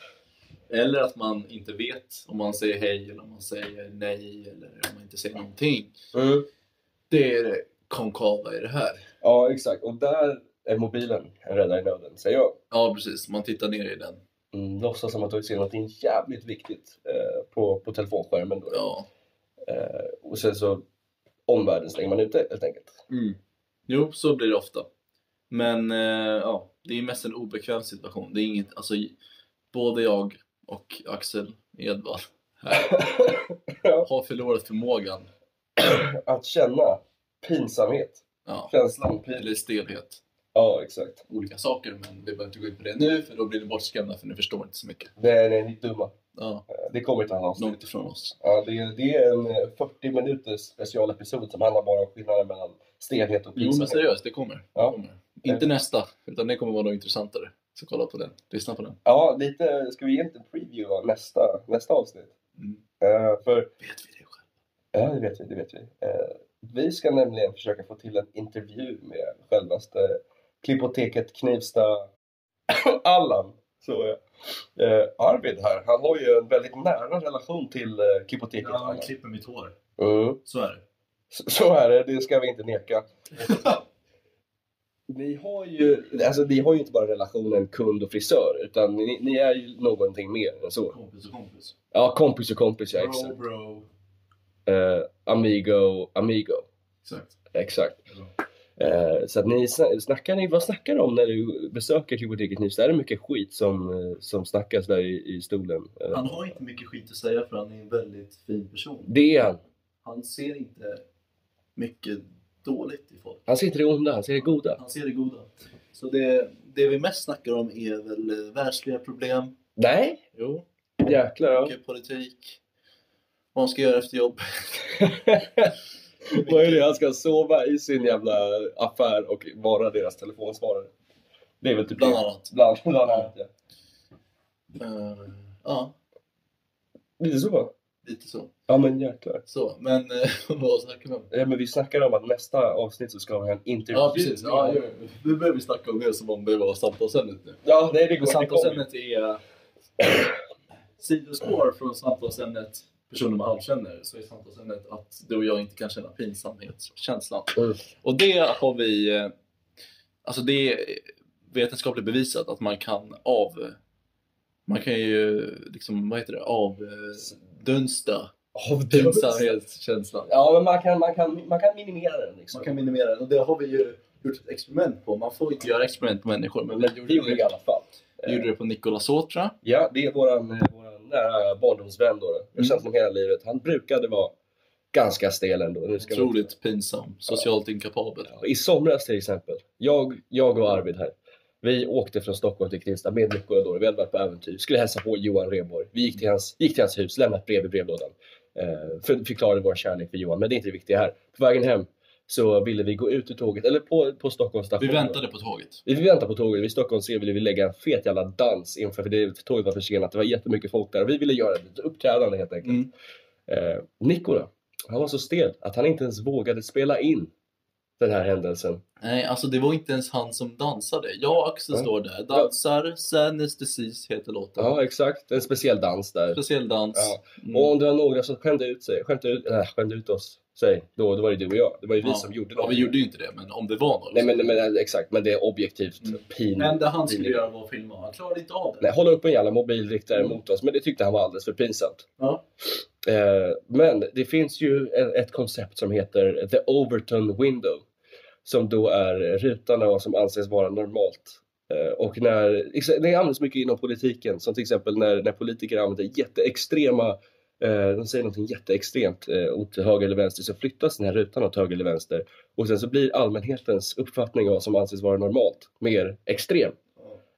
Speaker 2: Eller att man inte vet om man säger hej eller om man säger nej eller om man inte säger någonting.
Speaker 1: Mm.
Speaker 2: Det är det konkava i det här.
Speaker 1: Ja, exakt. Och där är mobilen en räddare i nöden, säger jag.
Speaker 2: Ja, precis. Man tittar ner i den.
Speaker 1: Mm, låtsas som att du ser någonting jävligt viktigt eh, på, på telefonskärmen. Då.
Speaker 2: Ja.
Speaker 1: Eh, och sen så omvärlden stänger man ute helt enkelt.
Speaker 2: Mm. Jo, så blir det ofta. Men eh, ja, det är mest en obekväm situation. Det är inget, alltså, j- både jag och Axel Edvall här har förlorat förmågan.
Speaker 1: Att känna pinsamhet,
Speaker 2: Ja,
Speaker 1: känslan pin.
Speaker 2: eller stelhet.
Speaker 1: Ja, exakt.
Speaker 2: Olika saker, men vi behöver inte gå in på det nu för då blir ni bortskrämda för ni förstår inte så mycket.
Speaker 1: Nej, nej, ni är dumma.
Speaker 2: Ja,
Speaker 1: Eh, Det kommer ett annat avsnitt.
Speaker 2: långt ifrån oss.
Speaker 1: Ja, det, är, det är en eh, 40 minuters specialepisod som handlar bara om skillnaden mellan stelhet och
Speaker 2: Jo, men
Speaker 1: pinsamhet.
Speaker 2: seriöst, det kommer. Det
Speaker 1: Ja. Eh.
Speaker 2: kommer. Inte nästa, utan det kommer vara något intressantare. Så kolla på den. Lyssna på den.
Speaker 1: Ja, lite, ska vi ge en preview av nästa, nästa avsnitt?
Speaker 2: Mm.
Speaker 1: Eh, för
Speaker 2: Vet vi det själv?
Speaker 1: Ja, det vet vi. Det vet vi. Eh, vi ska nämligen försöka få till en intervju med självaste Klippoteket Knivsta Allan. Så, ja. eh, Arvid här, han har ju en väldigt nära relation till eh, Klippoteket Allan.
Speaker 2: klipper mitt hår.
Speaker 1: Mm.
Speaker 2: Så är det.
Speaker 1: Så, så är det, det ska vi inte neka. Ni har ju, alltså, ni har ju inte bara relationen kund och frisör, utan ni, ni är ju någonting mer än så.
Speaker 2: Kompis och kompis.
Speaker 1: Ja, kompis och kompis, ja exakt.
Speaker 2: bro.
Speaker 1: Eh, amigo, amigo.
Speaker 2: Exakt.
Speaker 1: Exakt. Eh, Så att ni sna- snackar ni, vad snackar ni om när du besöker typ biblioteket nyss? Är det mycket skit som, eh, som snackas där i, i stolen? Eh,
Speaker 2: Han har inte mycket skit att säga för han är en väldigt fin person.
Speaker 1: Det är han.
Speaker 2: Han ser inte mycket dåligt i folk.
Speaker 1: Han ser inte det onda, han ser det goda.
Speaker 2: Han ser det goda. Så det, det vi mest snackar om är väl eh, världsliga problem.
Speaker 1: Nej,
Speaker 2: Jo.
Speaker 1: jäklar. Ja.
Speaker 2: Mycket politik. Vad man ska göra efter jobb.
Speaker 1: Vad är det? Han ska sova i sin jävla affär och vara deras telefonsvarare. Det är väl typ
Speaker 2: Bland
Speaker 1: det.
Speaker 2: annat.
Speaker 1: Bland, bland annat, ja.
Speaker 2: Eh, ja,
Speaker 1: Lite så.
Speaker 2: lite så.
Speaker 1: Ja men jäklar.
Speaker 2: så. Men eh, vad snackar vi om?
Speaker 1: Ja, men vi snackar om att nästa avsnitt så ska vi ha en intervju.
Speaker 2: Ja, precis. Ja, jo, jo. nu börjar vi snacka om det som om det var samtalsämnet nu.
Speaker 1: Ja, nej, det
Speaker 2: Men
Speaker 1: går. Det kommer.
Speaker 2: samtalsämnet är eh, sidospår från samtalsämnet personer man halvkänner. Så är samtalsämnet att du och jag inte kan känna pinsamhetskänslan.
Speaker 1: Mm.
Speaker 2: Och det har vi... eh, Alltså det är vetenskapligt bevisat att man kan av... Man kan ju liksom, vad heter det, avdunsta pinsamhetskänslan.
Speaker 1: Ja, men man kan, man kan, man kan minimera den liksom.
Speaker 2: Man kan minimera den och det har vi ju gjort ett experiment på. Man får inte göra experiment på människor men vi
Speaker 1: Men vi
Speaker 2: gjorde
Speaker 1: gjorde det i
Speaker 2: det,
Speaker 1: alla fall.
Speaker 2: vi gjorde det på Nikola Sotra.
Speaker 1: Ja, det är våran, eh, våran nära barndomsvän då. då. Jag har känt honom hela livet. Han brukade vara ganska stel ändå. Nu ska man-
Speaker 2: Otroligt pinsam, socialt inkapabel.
Speaker 1: Ja, I somras till exempel, jag, jag och Arvid här, vi åkte från Stockholm till Knivsta med Nico och Doro. Vi hade varit på äventyr, skulle hälsa på Johan Rheborg. Vi gick till hans, gick till hans hus, lämnade ett brev i brevlådan. Eh, för, förklarade vår kärlek för Johan, men det är inte det viktiga här. På vägen hem så ville vi gå ut ur tåget, eller på, på Stockholms station.
Speaker 2: Vi väntade på tåget.
Speaker 1: Vi väntade på tåget, vid Stockholms C ville vi lägga en fet jävla dans inför, för det, tåget var försenat, det var jättemycket folk där. Vi ville göra ett uppträdande helt enkelt.
Speaker 2: Mm.
Speaker 1: Eh, Nico då, han var så stel att han inte ens vågade spela in den här händelsen.
Speaker 2: Nej, alltså det var inte ens han som dansade. Jag och Axel
Speaker 1: Nej.
Speaker 2: står där, dansar, San is disease heter låten.
Speaker 1: Ja, exakt. En speciell dans där.
Speaker 2: Speciell dans.
Speaker 1: Ja.
Speaker 2: Mm.
Speaker 1: Och om det var några som skämde ut sig, skämde ut, äh, skämde ut oss, sig, då, då var det du och jag. Det var ju vi
Speaker 2: Ja.
Speaker 1: som gjorde
Speaker 2: Ja,
Speaker 1: något.
Speaker 2: vi gjorde ju inte det, men om det var något.
Speaker 1: Nej, men, men, men, exakt, men det är objektivt
Speaker 2: Mm.
Speaker 1: pinligt.
Speaker 2: Det enda han skulle göra var att filma. Han klarade inte av det.
Speaker 1: Mm. Nej, hålla upp en jävla mobilriktare
Speaker 2: Mm.
Speaker 1: mot oss, men det tyckte han var alldeles för pinsamt.
Speaker 2: Ja.
Speaker 1: Eh, men det finns ju ett, ett koncept som heter The Overton Window, som då är rutan av vad som anses vara normalt. Eh, och när, exa- det används mycket inom politiken, som till exempel när, när politiker använder jätteextrema eh, de säger någonting jätteextremt eh, åt höger eller vänster så flyttas den här rutan åt höger eller vänster och sen så blir allmänhetens uppfattning av vad som anses vara normalt mer extrem.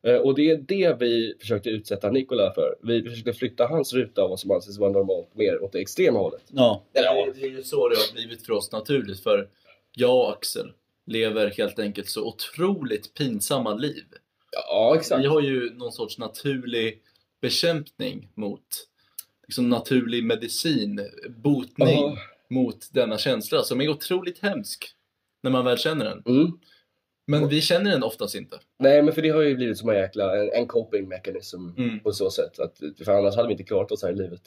Speaker 1: Eh, Och det är det vi försökte utsätta Nikola för. Vi försökte flytta hans ruta av vad som anses vara normalt mer åt det extrema hållet.
Speaker 2: Ja. Det,
Speaker 1: Ja.
Speaker 2: är, det är ju så det har blivit för oss naturligt för jag och Axel lever helt enkelt så otroligt pinsamma liv.
Speaker 1: Ja, exakt.
Speaker 2: Vi har ju någon sorts naturlig bekämpning mot liksom naturlig medicin, botning
Speaker 1: Ja.
Speaker 2: mot denna känsla som är otroligt hemsk när man väl känner den.
Speaker 1: Mm.
Speaker 2: Men vi känner den oftast inte.
Speaker 1: Nej, men för det har ju blivit som en jäkla en, en coping mechanism
Speaker 2: Mm.
Speaker 1: på så sätt. Att, för annars hade vi inte klarat oss här i livet.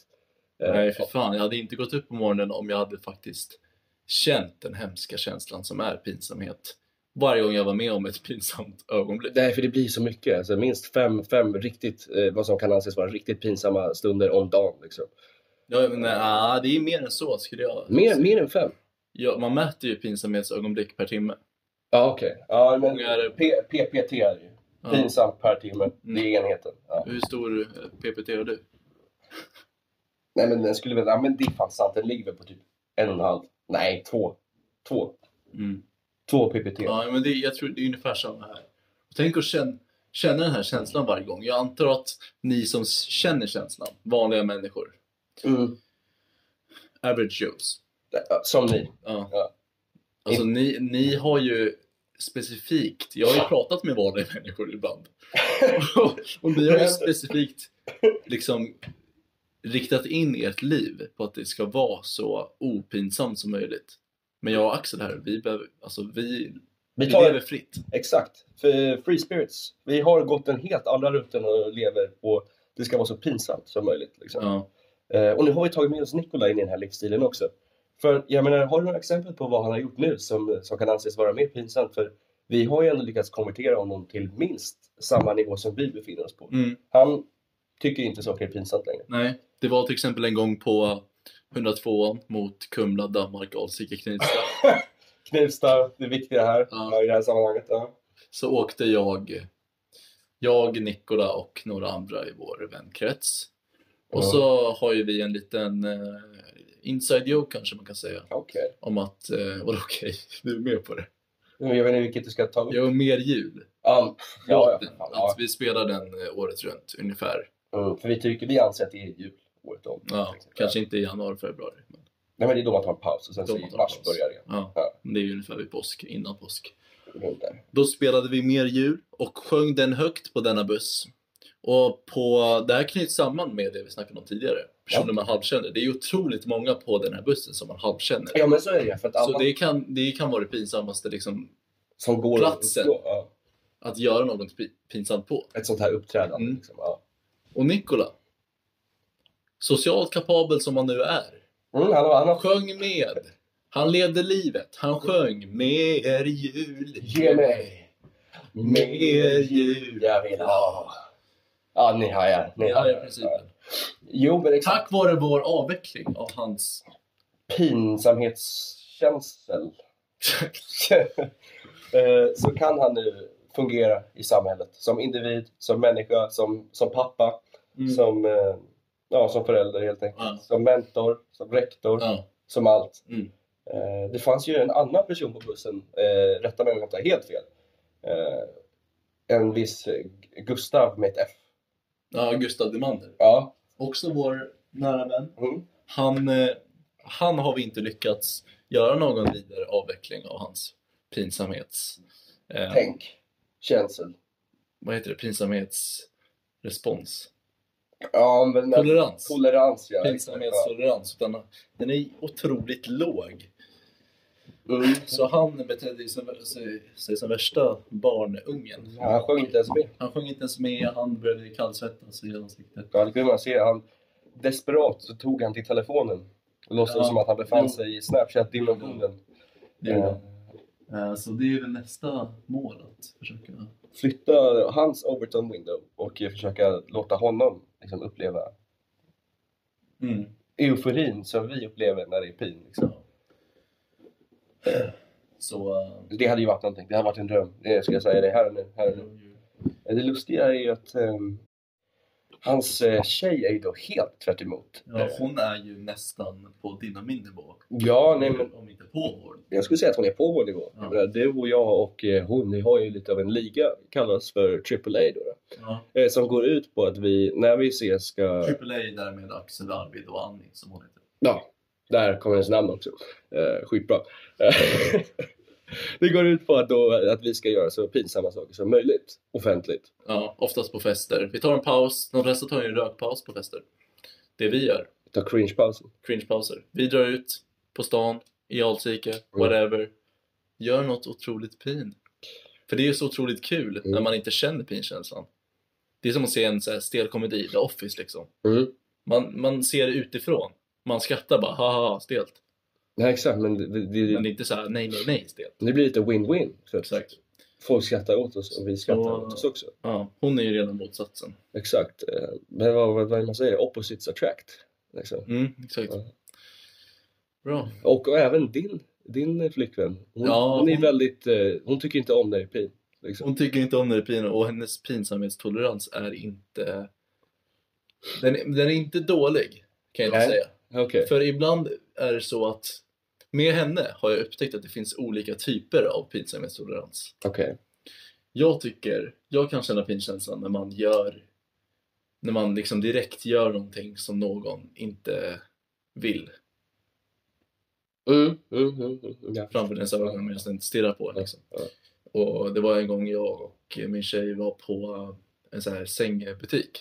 Speaker 1: Eh,
Speaker 2: Nej, för fan. Jag hade inte gått upp på morgonen om jag hade faktiskt känt den hemska känslan som är pinsamhet. Varje gång jag var med om ett pinsamt ögonblick.
Speaker 1: Nej, för det blir så mycket. Alltså, minst fem, fem riktigt, eh, vad som kan anses vara riktigt pinsamma stunder om dagen. Liksom.
Speaker 2: Ja, men, ah, det är mer än så skulle jag
Speaker 1: Mer, mer än fem?
Speaker 2: Ja, man mäter ju pinsamhetsögonblick per timme.
Speaker 1: Ja, okej. Ja, men
Speaker 2: Många är det-
Speaker 1: P- PPT är det ju.
Speaker 2: Ja. Mm.
Speaker 1: Pinsamt per timme. Det är enheten. Ja.
Speaker 2: Hur stor eh, PPT har du?
Speaker 1: Nej men den skulle väl, ja men det är fan sant, den ligger väl på typ en och en halv, nej två, två, två ppt.
Speaker 2: Mm. Ja, men det, jag tror det är ungefär samma här. Och tänk att känna, känna den här känslan varje gång. Jag antar att ni som s- känner känslan, vanliga människor,
Speaker 1: Mm.
Speaker 2: average Joes.
Speaker 1: Ja, Som ni.
Speaker 2: Ja.
Speaker 1: Ja.
Speaker 2: Alltså ni, ni har ju specifikt, jag har ju pratat med vanliga människor ibland. Och, och ni har ju specifikt liksom riktat in ert liv på att det ska vara så opinsamt som möjligt. Men jag och Axel här, vi, behöver, alltså, vi, vi
Speaker 1: Vi tar,
Speaker 2: lever fritt.
Speaker 1: Exakt, för Free Spirits. Vi har gått den helt andra rutten och lever på det ska vara så pinsamt som möjligt. Liksom.
Speaker 2: Ja.
Speaker 1: Eh, och nu har vi tagit med oss Nikola in i den här livsstilen också. För jag menar, har du några exempel på vad han har gjort nu som, som kan anses vara mer pinsamt? För vi har ju ändå lyckats konvertera honom till minst samma nivå som vi befinner oss på.
Speaker 2: Mm.
Speaker 1: Han tycker inte saker är pinsamt längre.
Speaker 2: Nej, det var till exempel en gång på 102 mot Kumla, Danmark, Alsike, Knivsta.
Speaker 1: Knivsta, det viktiga här
Speaker 2: Ja.
Speaker 1: i det här sammanhanget. Ja.
Speaker 2: så åkte jag, jag, Nikola och några andra i vår vänkrets. Och
Speaker 1: Ja.
Speaker 2: så har ju vi en liten eh, inside joke kanske man kan säga.
Speaker 1: Okej.
Speaker 2: Om att, eh, vadå okej, du är med på det.
Speaker 1: Jag vet inte vilket du ska ta upp.
Speaker 2: Jo, mer jul.
Speaker 1: Ja, ja,
Speaker 2: Låten.
Speaker 1: ja,
Speaker 2: Att vi spelar den eh, året runt ungefär.
Speaker 1: ja. Mm, För vi tycker, vi anser att det är jul året om.
Speaker 2: Ja, kanske inte i januari, februari. Men,
Speaker 1: Nej men det är då man tar en paus och sen
Speaker 2: Då
Speaker 1: så
Speaker 2: man
Speaker 1: i
Speaker 2: tar
Speaker 1: mars
Speaker 2: paus.
Speaker 1: börjar det.
Speaker 2: ja,
Speaker 1: Ja.
Speaker 2: det är ju ungefär vid påsk, innan påsk.
Speaker 1: Runt Mm, där.
Speaker 2: Då spelade vi mer jul och sjöng den högt på denna buss. Och på, det här knyts samman med det vi snackade om tidigare. Personer
Speaker 1: Ja.
Speaker 2: man halvkänner. Det är ju otroligt många på den här bussen som man halvkänner.
Speaker 1: Ja men så är det för att
Speaker 2: Så
Speaker 1: alla
Speaker 2: det kan, det kan vara det pinsammaste liksom,
Speaker 1: som går
Speaker 2: platsen.
Speaker 1: Då, ja,
Speaker 2: att göra något pi- pinsamt på.
Speaker 1: ett sånt här uppträdande.
Speaker 2: Mm.
Speaker 1: Liksom, ja.
Speaker 2: Och Nikola, socialt kapabel som han nu är,
Speaker 1: mm, han, har- han
Speaker 2: han
Speaker 1: har
Speaker 2: sjöng med. Han levde livet. Han sjöng mer jul.
Speaker 1: Ge mig
Speaker 2: mer jul.
Speaker 1: jag vill ha. Ja ni hajar. Ni
Speaker 2: Ja, i
Speaker 1: hajar.
Speaker 2: princip.
Speaker 1: Jo men exakt.
Speaker 2: Tack vare vår avveckling av hans
Speaker 1: pinsamhetskänsel Eh, så kan han nu fungera i samhället som individ, som människa, som, som pappa,
Speaker 2: Mm.
Speaker 1: som, eh, ja, som förälder helt enkelt.
Speaker 2: Ja.
Speaker 1: Som mentor, som rektor,
Speaker 2: Ja.
Speaker 1: som allt.
Speaker 2: Mm.
Speaker 1: Eh, Det fanns ju en annan person på bussen, eh, rätta mig om jag har helt fel, eh, en viss eh, Gustav med ett F.
Speaker 2: ja, Gustav Demander.
Speaker 1: Ja.
Speaker 2: Också vår nära vän.
Speaker 1: Mm.
Speaker 2: Han, eh, han har vi inte lyckats göra någon vidare avveckling av hans pinsamhets... Eh,
Speaker 1: Tänk, känsel.
Speaker 2: vad heter det? Pinsamhetsrespons.
Speaker 1: Ja, men,
Speaker 2: Tolerans.
Speaker 1: Tolerans, ja.
Speaker 2: Pinsamhetstolerans. Utan den är otroligt låg.
Speaker 1: Ja. Mm.
Speaker 2: Så han betedde sig som- sig, sig som värsta barnungen.
Speaker 1: Han sjöng inte ens med.
Speaker 2: Han sjöng inte ens med, han började kallsvettas i ansiktet.
Speaker 1: Ja, det kunde man se. Han, desperat så tog han till telefonen och låtsades
Speaker 2: Ja. Mm.
Speaker 1: som att han befann sig i Snapchat-dimensionen.
Speaker 2: Det gjorde han. Eh, Så det är väl nästa mål att försöka...
Speaker 1: Flytta hans Overton Window och eh, försöka låta honom liksom, uppleva
Speaker 2: Mm.
Speaker 1: euforin som vi upplever när det är pin. Liksom.
Speaker 2: Så... eh,
Speaker 1: Det hade ju varit någonting. Det hade varit en dröm. Det ska jag säga det här och nu. Här och
Speaker 2: Mm.
Speaker 1: nu. Det lustiga är ju att ehm, hans eh, tjej är ju då helt tvärt emot.
Speaker 2: Ja,
Speaker 1: Eh,
Speaker 2: hon är ju nästan på dina min nivå.
Speaker 1: ja, nej men
Speaker 2: Om inte på vår.
Speaker 1: Jag skulle säga att hon är på vår nivå.
Speaker 2: Ja.
Speaker 1: Jag menar, Du och jag och eh, hon, ni har ju lite av en liga, kallas för AAA då. då.
Speaker 2: Ja.
Speaker 1: Eh, Som går ut på att vi, när vi ses ska...
Speaker 2: Triple A därmed Axel, Arvid och Annie som hon heter.
Speaker 1: Ja, där kommer hennes namn också. Eh, skitbra. Eh, det går ut på att, då, att vi ska göra så pinsamma saker som möjligt, offentligt.
Speaker 2: Ja, oftast på fester. Vi tar en paus. De flesta tar ju en rökpaus på fester. Det vi gör,
Speaker 1: Ta cringe-pausen.
Speaker 2: cringepauser. Vi drar ut på stan, i Alsike,
Speaker 1: Mm.
Speaker 2: whatever. Gör något otroligt pin. För det är ju så otroligt kul
Speaker 1: Mm.
Speaker 2: när man inte känner pinkänslan. Det är som att se en så här stel komedi, The Office liksom.
Speaker 1: Mm.
Speaker 2: Man, man ser det utifrån. Man skrattar bara, ha ha ha, stelt.
Speaker 1: Nej, exakt, men det, det,
Speaker 2: Men
Speaker 1: det,
Speaker 2: det är inte så här, nej nej nej, stelt.
Speaker 1: det blir lite win-win. Så att
Speaker 2: Exakt.
Speaker 1: Folk skrattar åt oss och vi skrattar
Speaker 2: Så-
Speaker 1: åt oss också.
Speaker 2: Ja, hon är ju redan motsatsen.
Speaker 1: Exakt. Eh, Men vad, vad, vad man säger, opposites attract. Liksom.
Speaker 2: Mm, exakt.
Speaker 1: Ja.
Speaker 2: Bra.
Speaker 1: Och, och även din, din flickvän. Hon,
Speaker 2: Ja,
Speaker 1: hon är
Speaker 2: hon-
Speaker 1: väldigt, eh, hon tycker inte om när det är pin. Liksom.
Speaker 2: Hon tycker inte om när det är pinsamt och hennes pinsamhetstolerans är inte... Den, är- den är inte dålig, kan jag inte
Speaker 1: Nej.
Speaker 2: säga.
Speaker 1: Okej.
Speaker 2: För ibland är det så att med henne har jag upptäckt att det finns olika typer av pinsamhetstolerans.
Speaker 1: Okej.
Speaker 2: Jag tycker, jag kan känna pinkänslan när man gör, när man liksom direkt gör någonting som någon inte vill
Speaker 1: Mm, mm, mm, mm, ja.
Speaker 2: framför ens ögon medan den stirrar på en. Liksom.
Speaker 1: Ja,
Speaker 2: Och det var en gång jag och min tjej var på en så här sängbutik.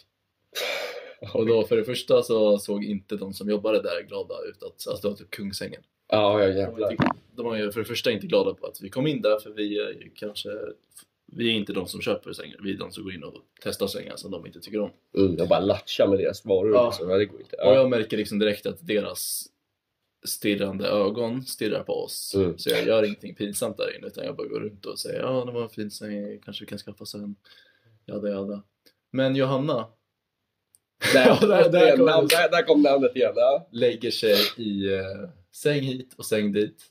Speaker 2: Och då för det första så såg inte de som jobbade där glada ut att alltså det var typ Kungsängen.
Speaker 1: Ja, ja,
Speaker 2: De var
Speaker 1: jävlar.
Speaker 2: inte- De var ju för det första inte glada på att vi kom in där för vi är ju kanske vi är inte de som köper sängar, vi är de som går in och testar sängar som de inte tycker om.
Speaker 1: Mm, jag bara latchar med deras varor.
Speaker 2: Ja.
Speaker 1: Liksom. Ja, det går inte.
Speaker 2: Och
Speaker 1: Ja.
Speaker 2: jag märker liksom direkt att deras stirrande ögon stirrar på oss.
Speaker 1: Mm.
Speaker 2: Så jag gör ingenting pinsamt där inne utan jag bara går runt och säger ja det var en fin säng, kanske vi kan skaffa oss en. Jada jada. Men Johanna
Speaker 1: Där,
Speaker 2: Ja, där- där
Speaker 1: återigen,
Speaker 2: kom det.
Speaker 1: namn- där, där kom namnet igen. Ja.
Speaker 2: lägger sig i eh, säng hit och säng dit.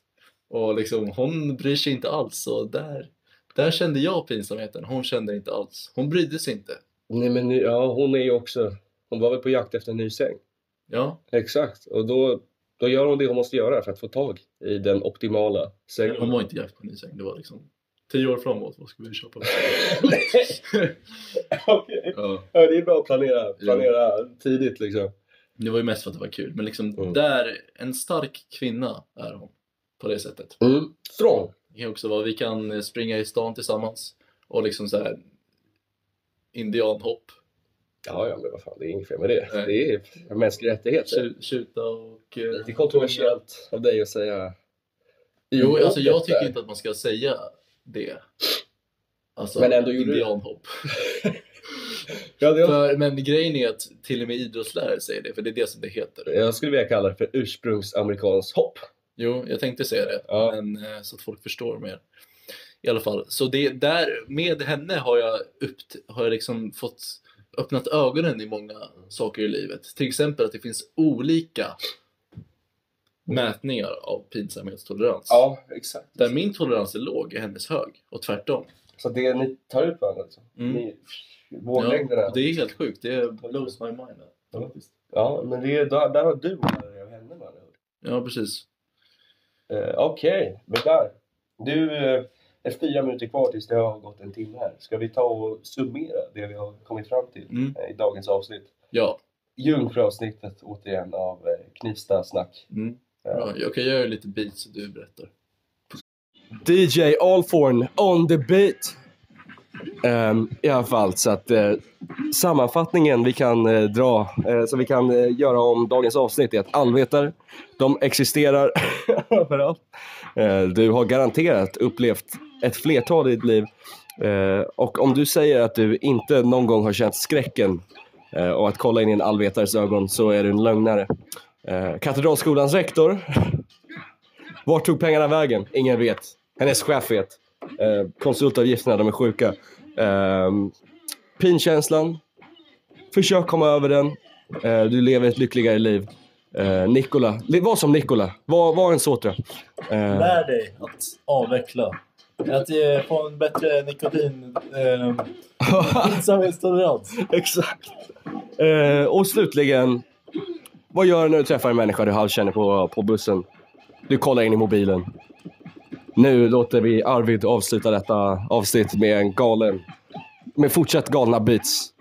Speaker 2: Och liksom, hon bryr sig inte alls. Och där, där kände jag pinsamheten. Hon kände inte alls. Hon brydde sig inte.
Speaker 1: Nej men nu- ja, hon är ju också... Hon var väl på jakt efter en ny säng.
Speaker 2: Ja,
Speaker 1: Exakt. Och då, då gör hon det hon måste göra för att få tag i den optimala sängen.
Speaker 2: hon var inte jakt på en ny säng. Det var liksom tio år framåt. Vad ska vi köpa?
Speaker 1: Okej.
Speaker 2: ja.
Speaker 1: Ja, det är bra att planera, planera tidigt liksom.
Speaker 2: Det var ju mest för att det var kul. Men liksom,
Speaker 1: Mm.
Speaker 2: där, en stark kvinna är hon. På det sättet.
Speaker 1: Mm. Strong.
Speaker 2: Det kan också vara vi kan springa i stan tillsammans och liksom så här indianhopp,
Speaker 1: Ja, ja, men vad fan, det är inget fel med det.
Speaker 2: Nej.
Speaker 1: Det är en mänsklig rättighet. det.
Speaker 2: tju- tjuta och... eh,
Speaker 1: Lite kontroversiellt av dig att säga.
Speaker 2: Jo, alltså jag
Speaker 1: inhoppet där.
Speaker 2: tycker inte att man ska säga det. Alltså,
Speaker 1: Men ändå gjorde du det.
Speaker 2: indianhopp.
Speaker 1: Ja, det var...
Speaker 2: För, men grejen är att till och med idrottslärare säger det, för det är det som det heter.
Speaker 1: Jag skulle vilja kalla det för ursprungsamerikanskt hopp.
Speaker 2: Jo, jag tänkte säga det,
Speaker 1: Ja.
Speaker 2: men, eh, så att folk förstår mer. I alla fall, så det, där, med henne har jag, uppt, har jag liksom fått öppnat ögonen i många saker i livet. Till exempel att det finns olika mätningar av pinsamhetstolerans.
Speaker 1: Ja, exakt.
Speaker 2: Där min tolerans är låg är hennes hög och tvärtom.
Speaker 1: Så det ni tar ut varandra liksom.
Speaker 2: Mm.
Speaker 1: Ni... Våglängderna.
Speaker 2: Ja,
Speaker 1: Ja,
Speaker 2: det är helt sjukt, det blows my mind.
Speaker 1: men det är, där, där har du lärt dig av henne med andra ord.
Speaker 2: Ja, precis.
Speaker 1: Eh, Okej, men där. Du, eh, det är fyra minuter kvar tills det har gått en timme här. Ska vi ta och summera det vi har kommit fram till
Speaker 2: Mm.
Speaker 1: eh, i dagens avsnitt?
Speaker 2: Ja,
Speaker 1: Jungfruavsnittet återigen av eh, Knivsta snack.
Speaker 2: mm.
Speaker 1: Ja.
Speaker 2: Bra. jag kan göra lite beats så du berättar.
Speaker 1: DJ Allforn on the beat. Ehm, I alla fall, så att eh, sammanfattningen vi kan eh, dra, eh, som vi kan eh, göra om dagens avsnitt är att allvetare, de existerar överallt. Eh, du har garanterat upplevt ett flertal i ditt liv. Eh, och om du säger att du inte någon gång har känt skräcken eh, och att kolla in i en allvetares ögon så är du en lögnare. Eh, Katedralskolans rektor vart tog pengarna vägen? Ingen vet. Hennes chef vet. Eh, konsultavgifterna, de är sjuka. Eh, pinkänslan. Försök komma över den. Eh, du lever ett lyckligare liv. Eh, Nikola. Le- Var som Nikola. Var, var en såtra. Eh,
Speaker 3: Lär dig att avveckla. Att eh, få en bättre nikotin... Eh, Pinsamhetstolerans.
Speaker 1: Exakt. Eh, och slutligen. Vad gör du när du träffar en människa du halvkänner på, på bussen? Du kollar in i mobilen. Nu låter vi Arvid avsluta detta avsnitt med en galen... Med fortsatt galna beats.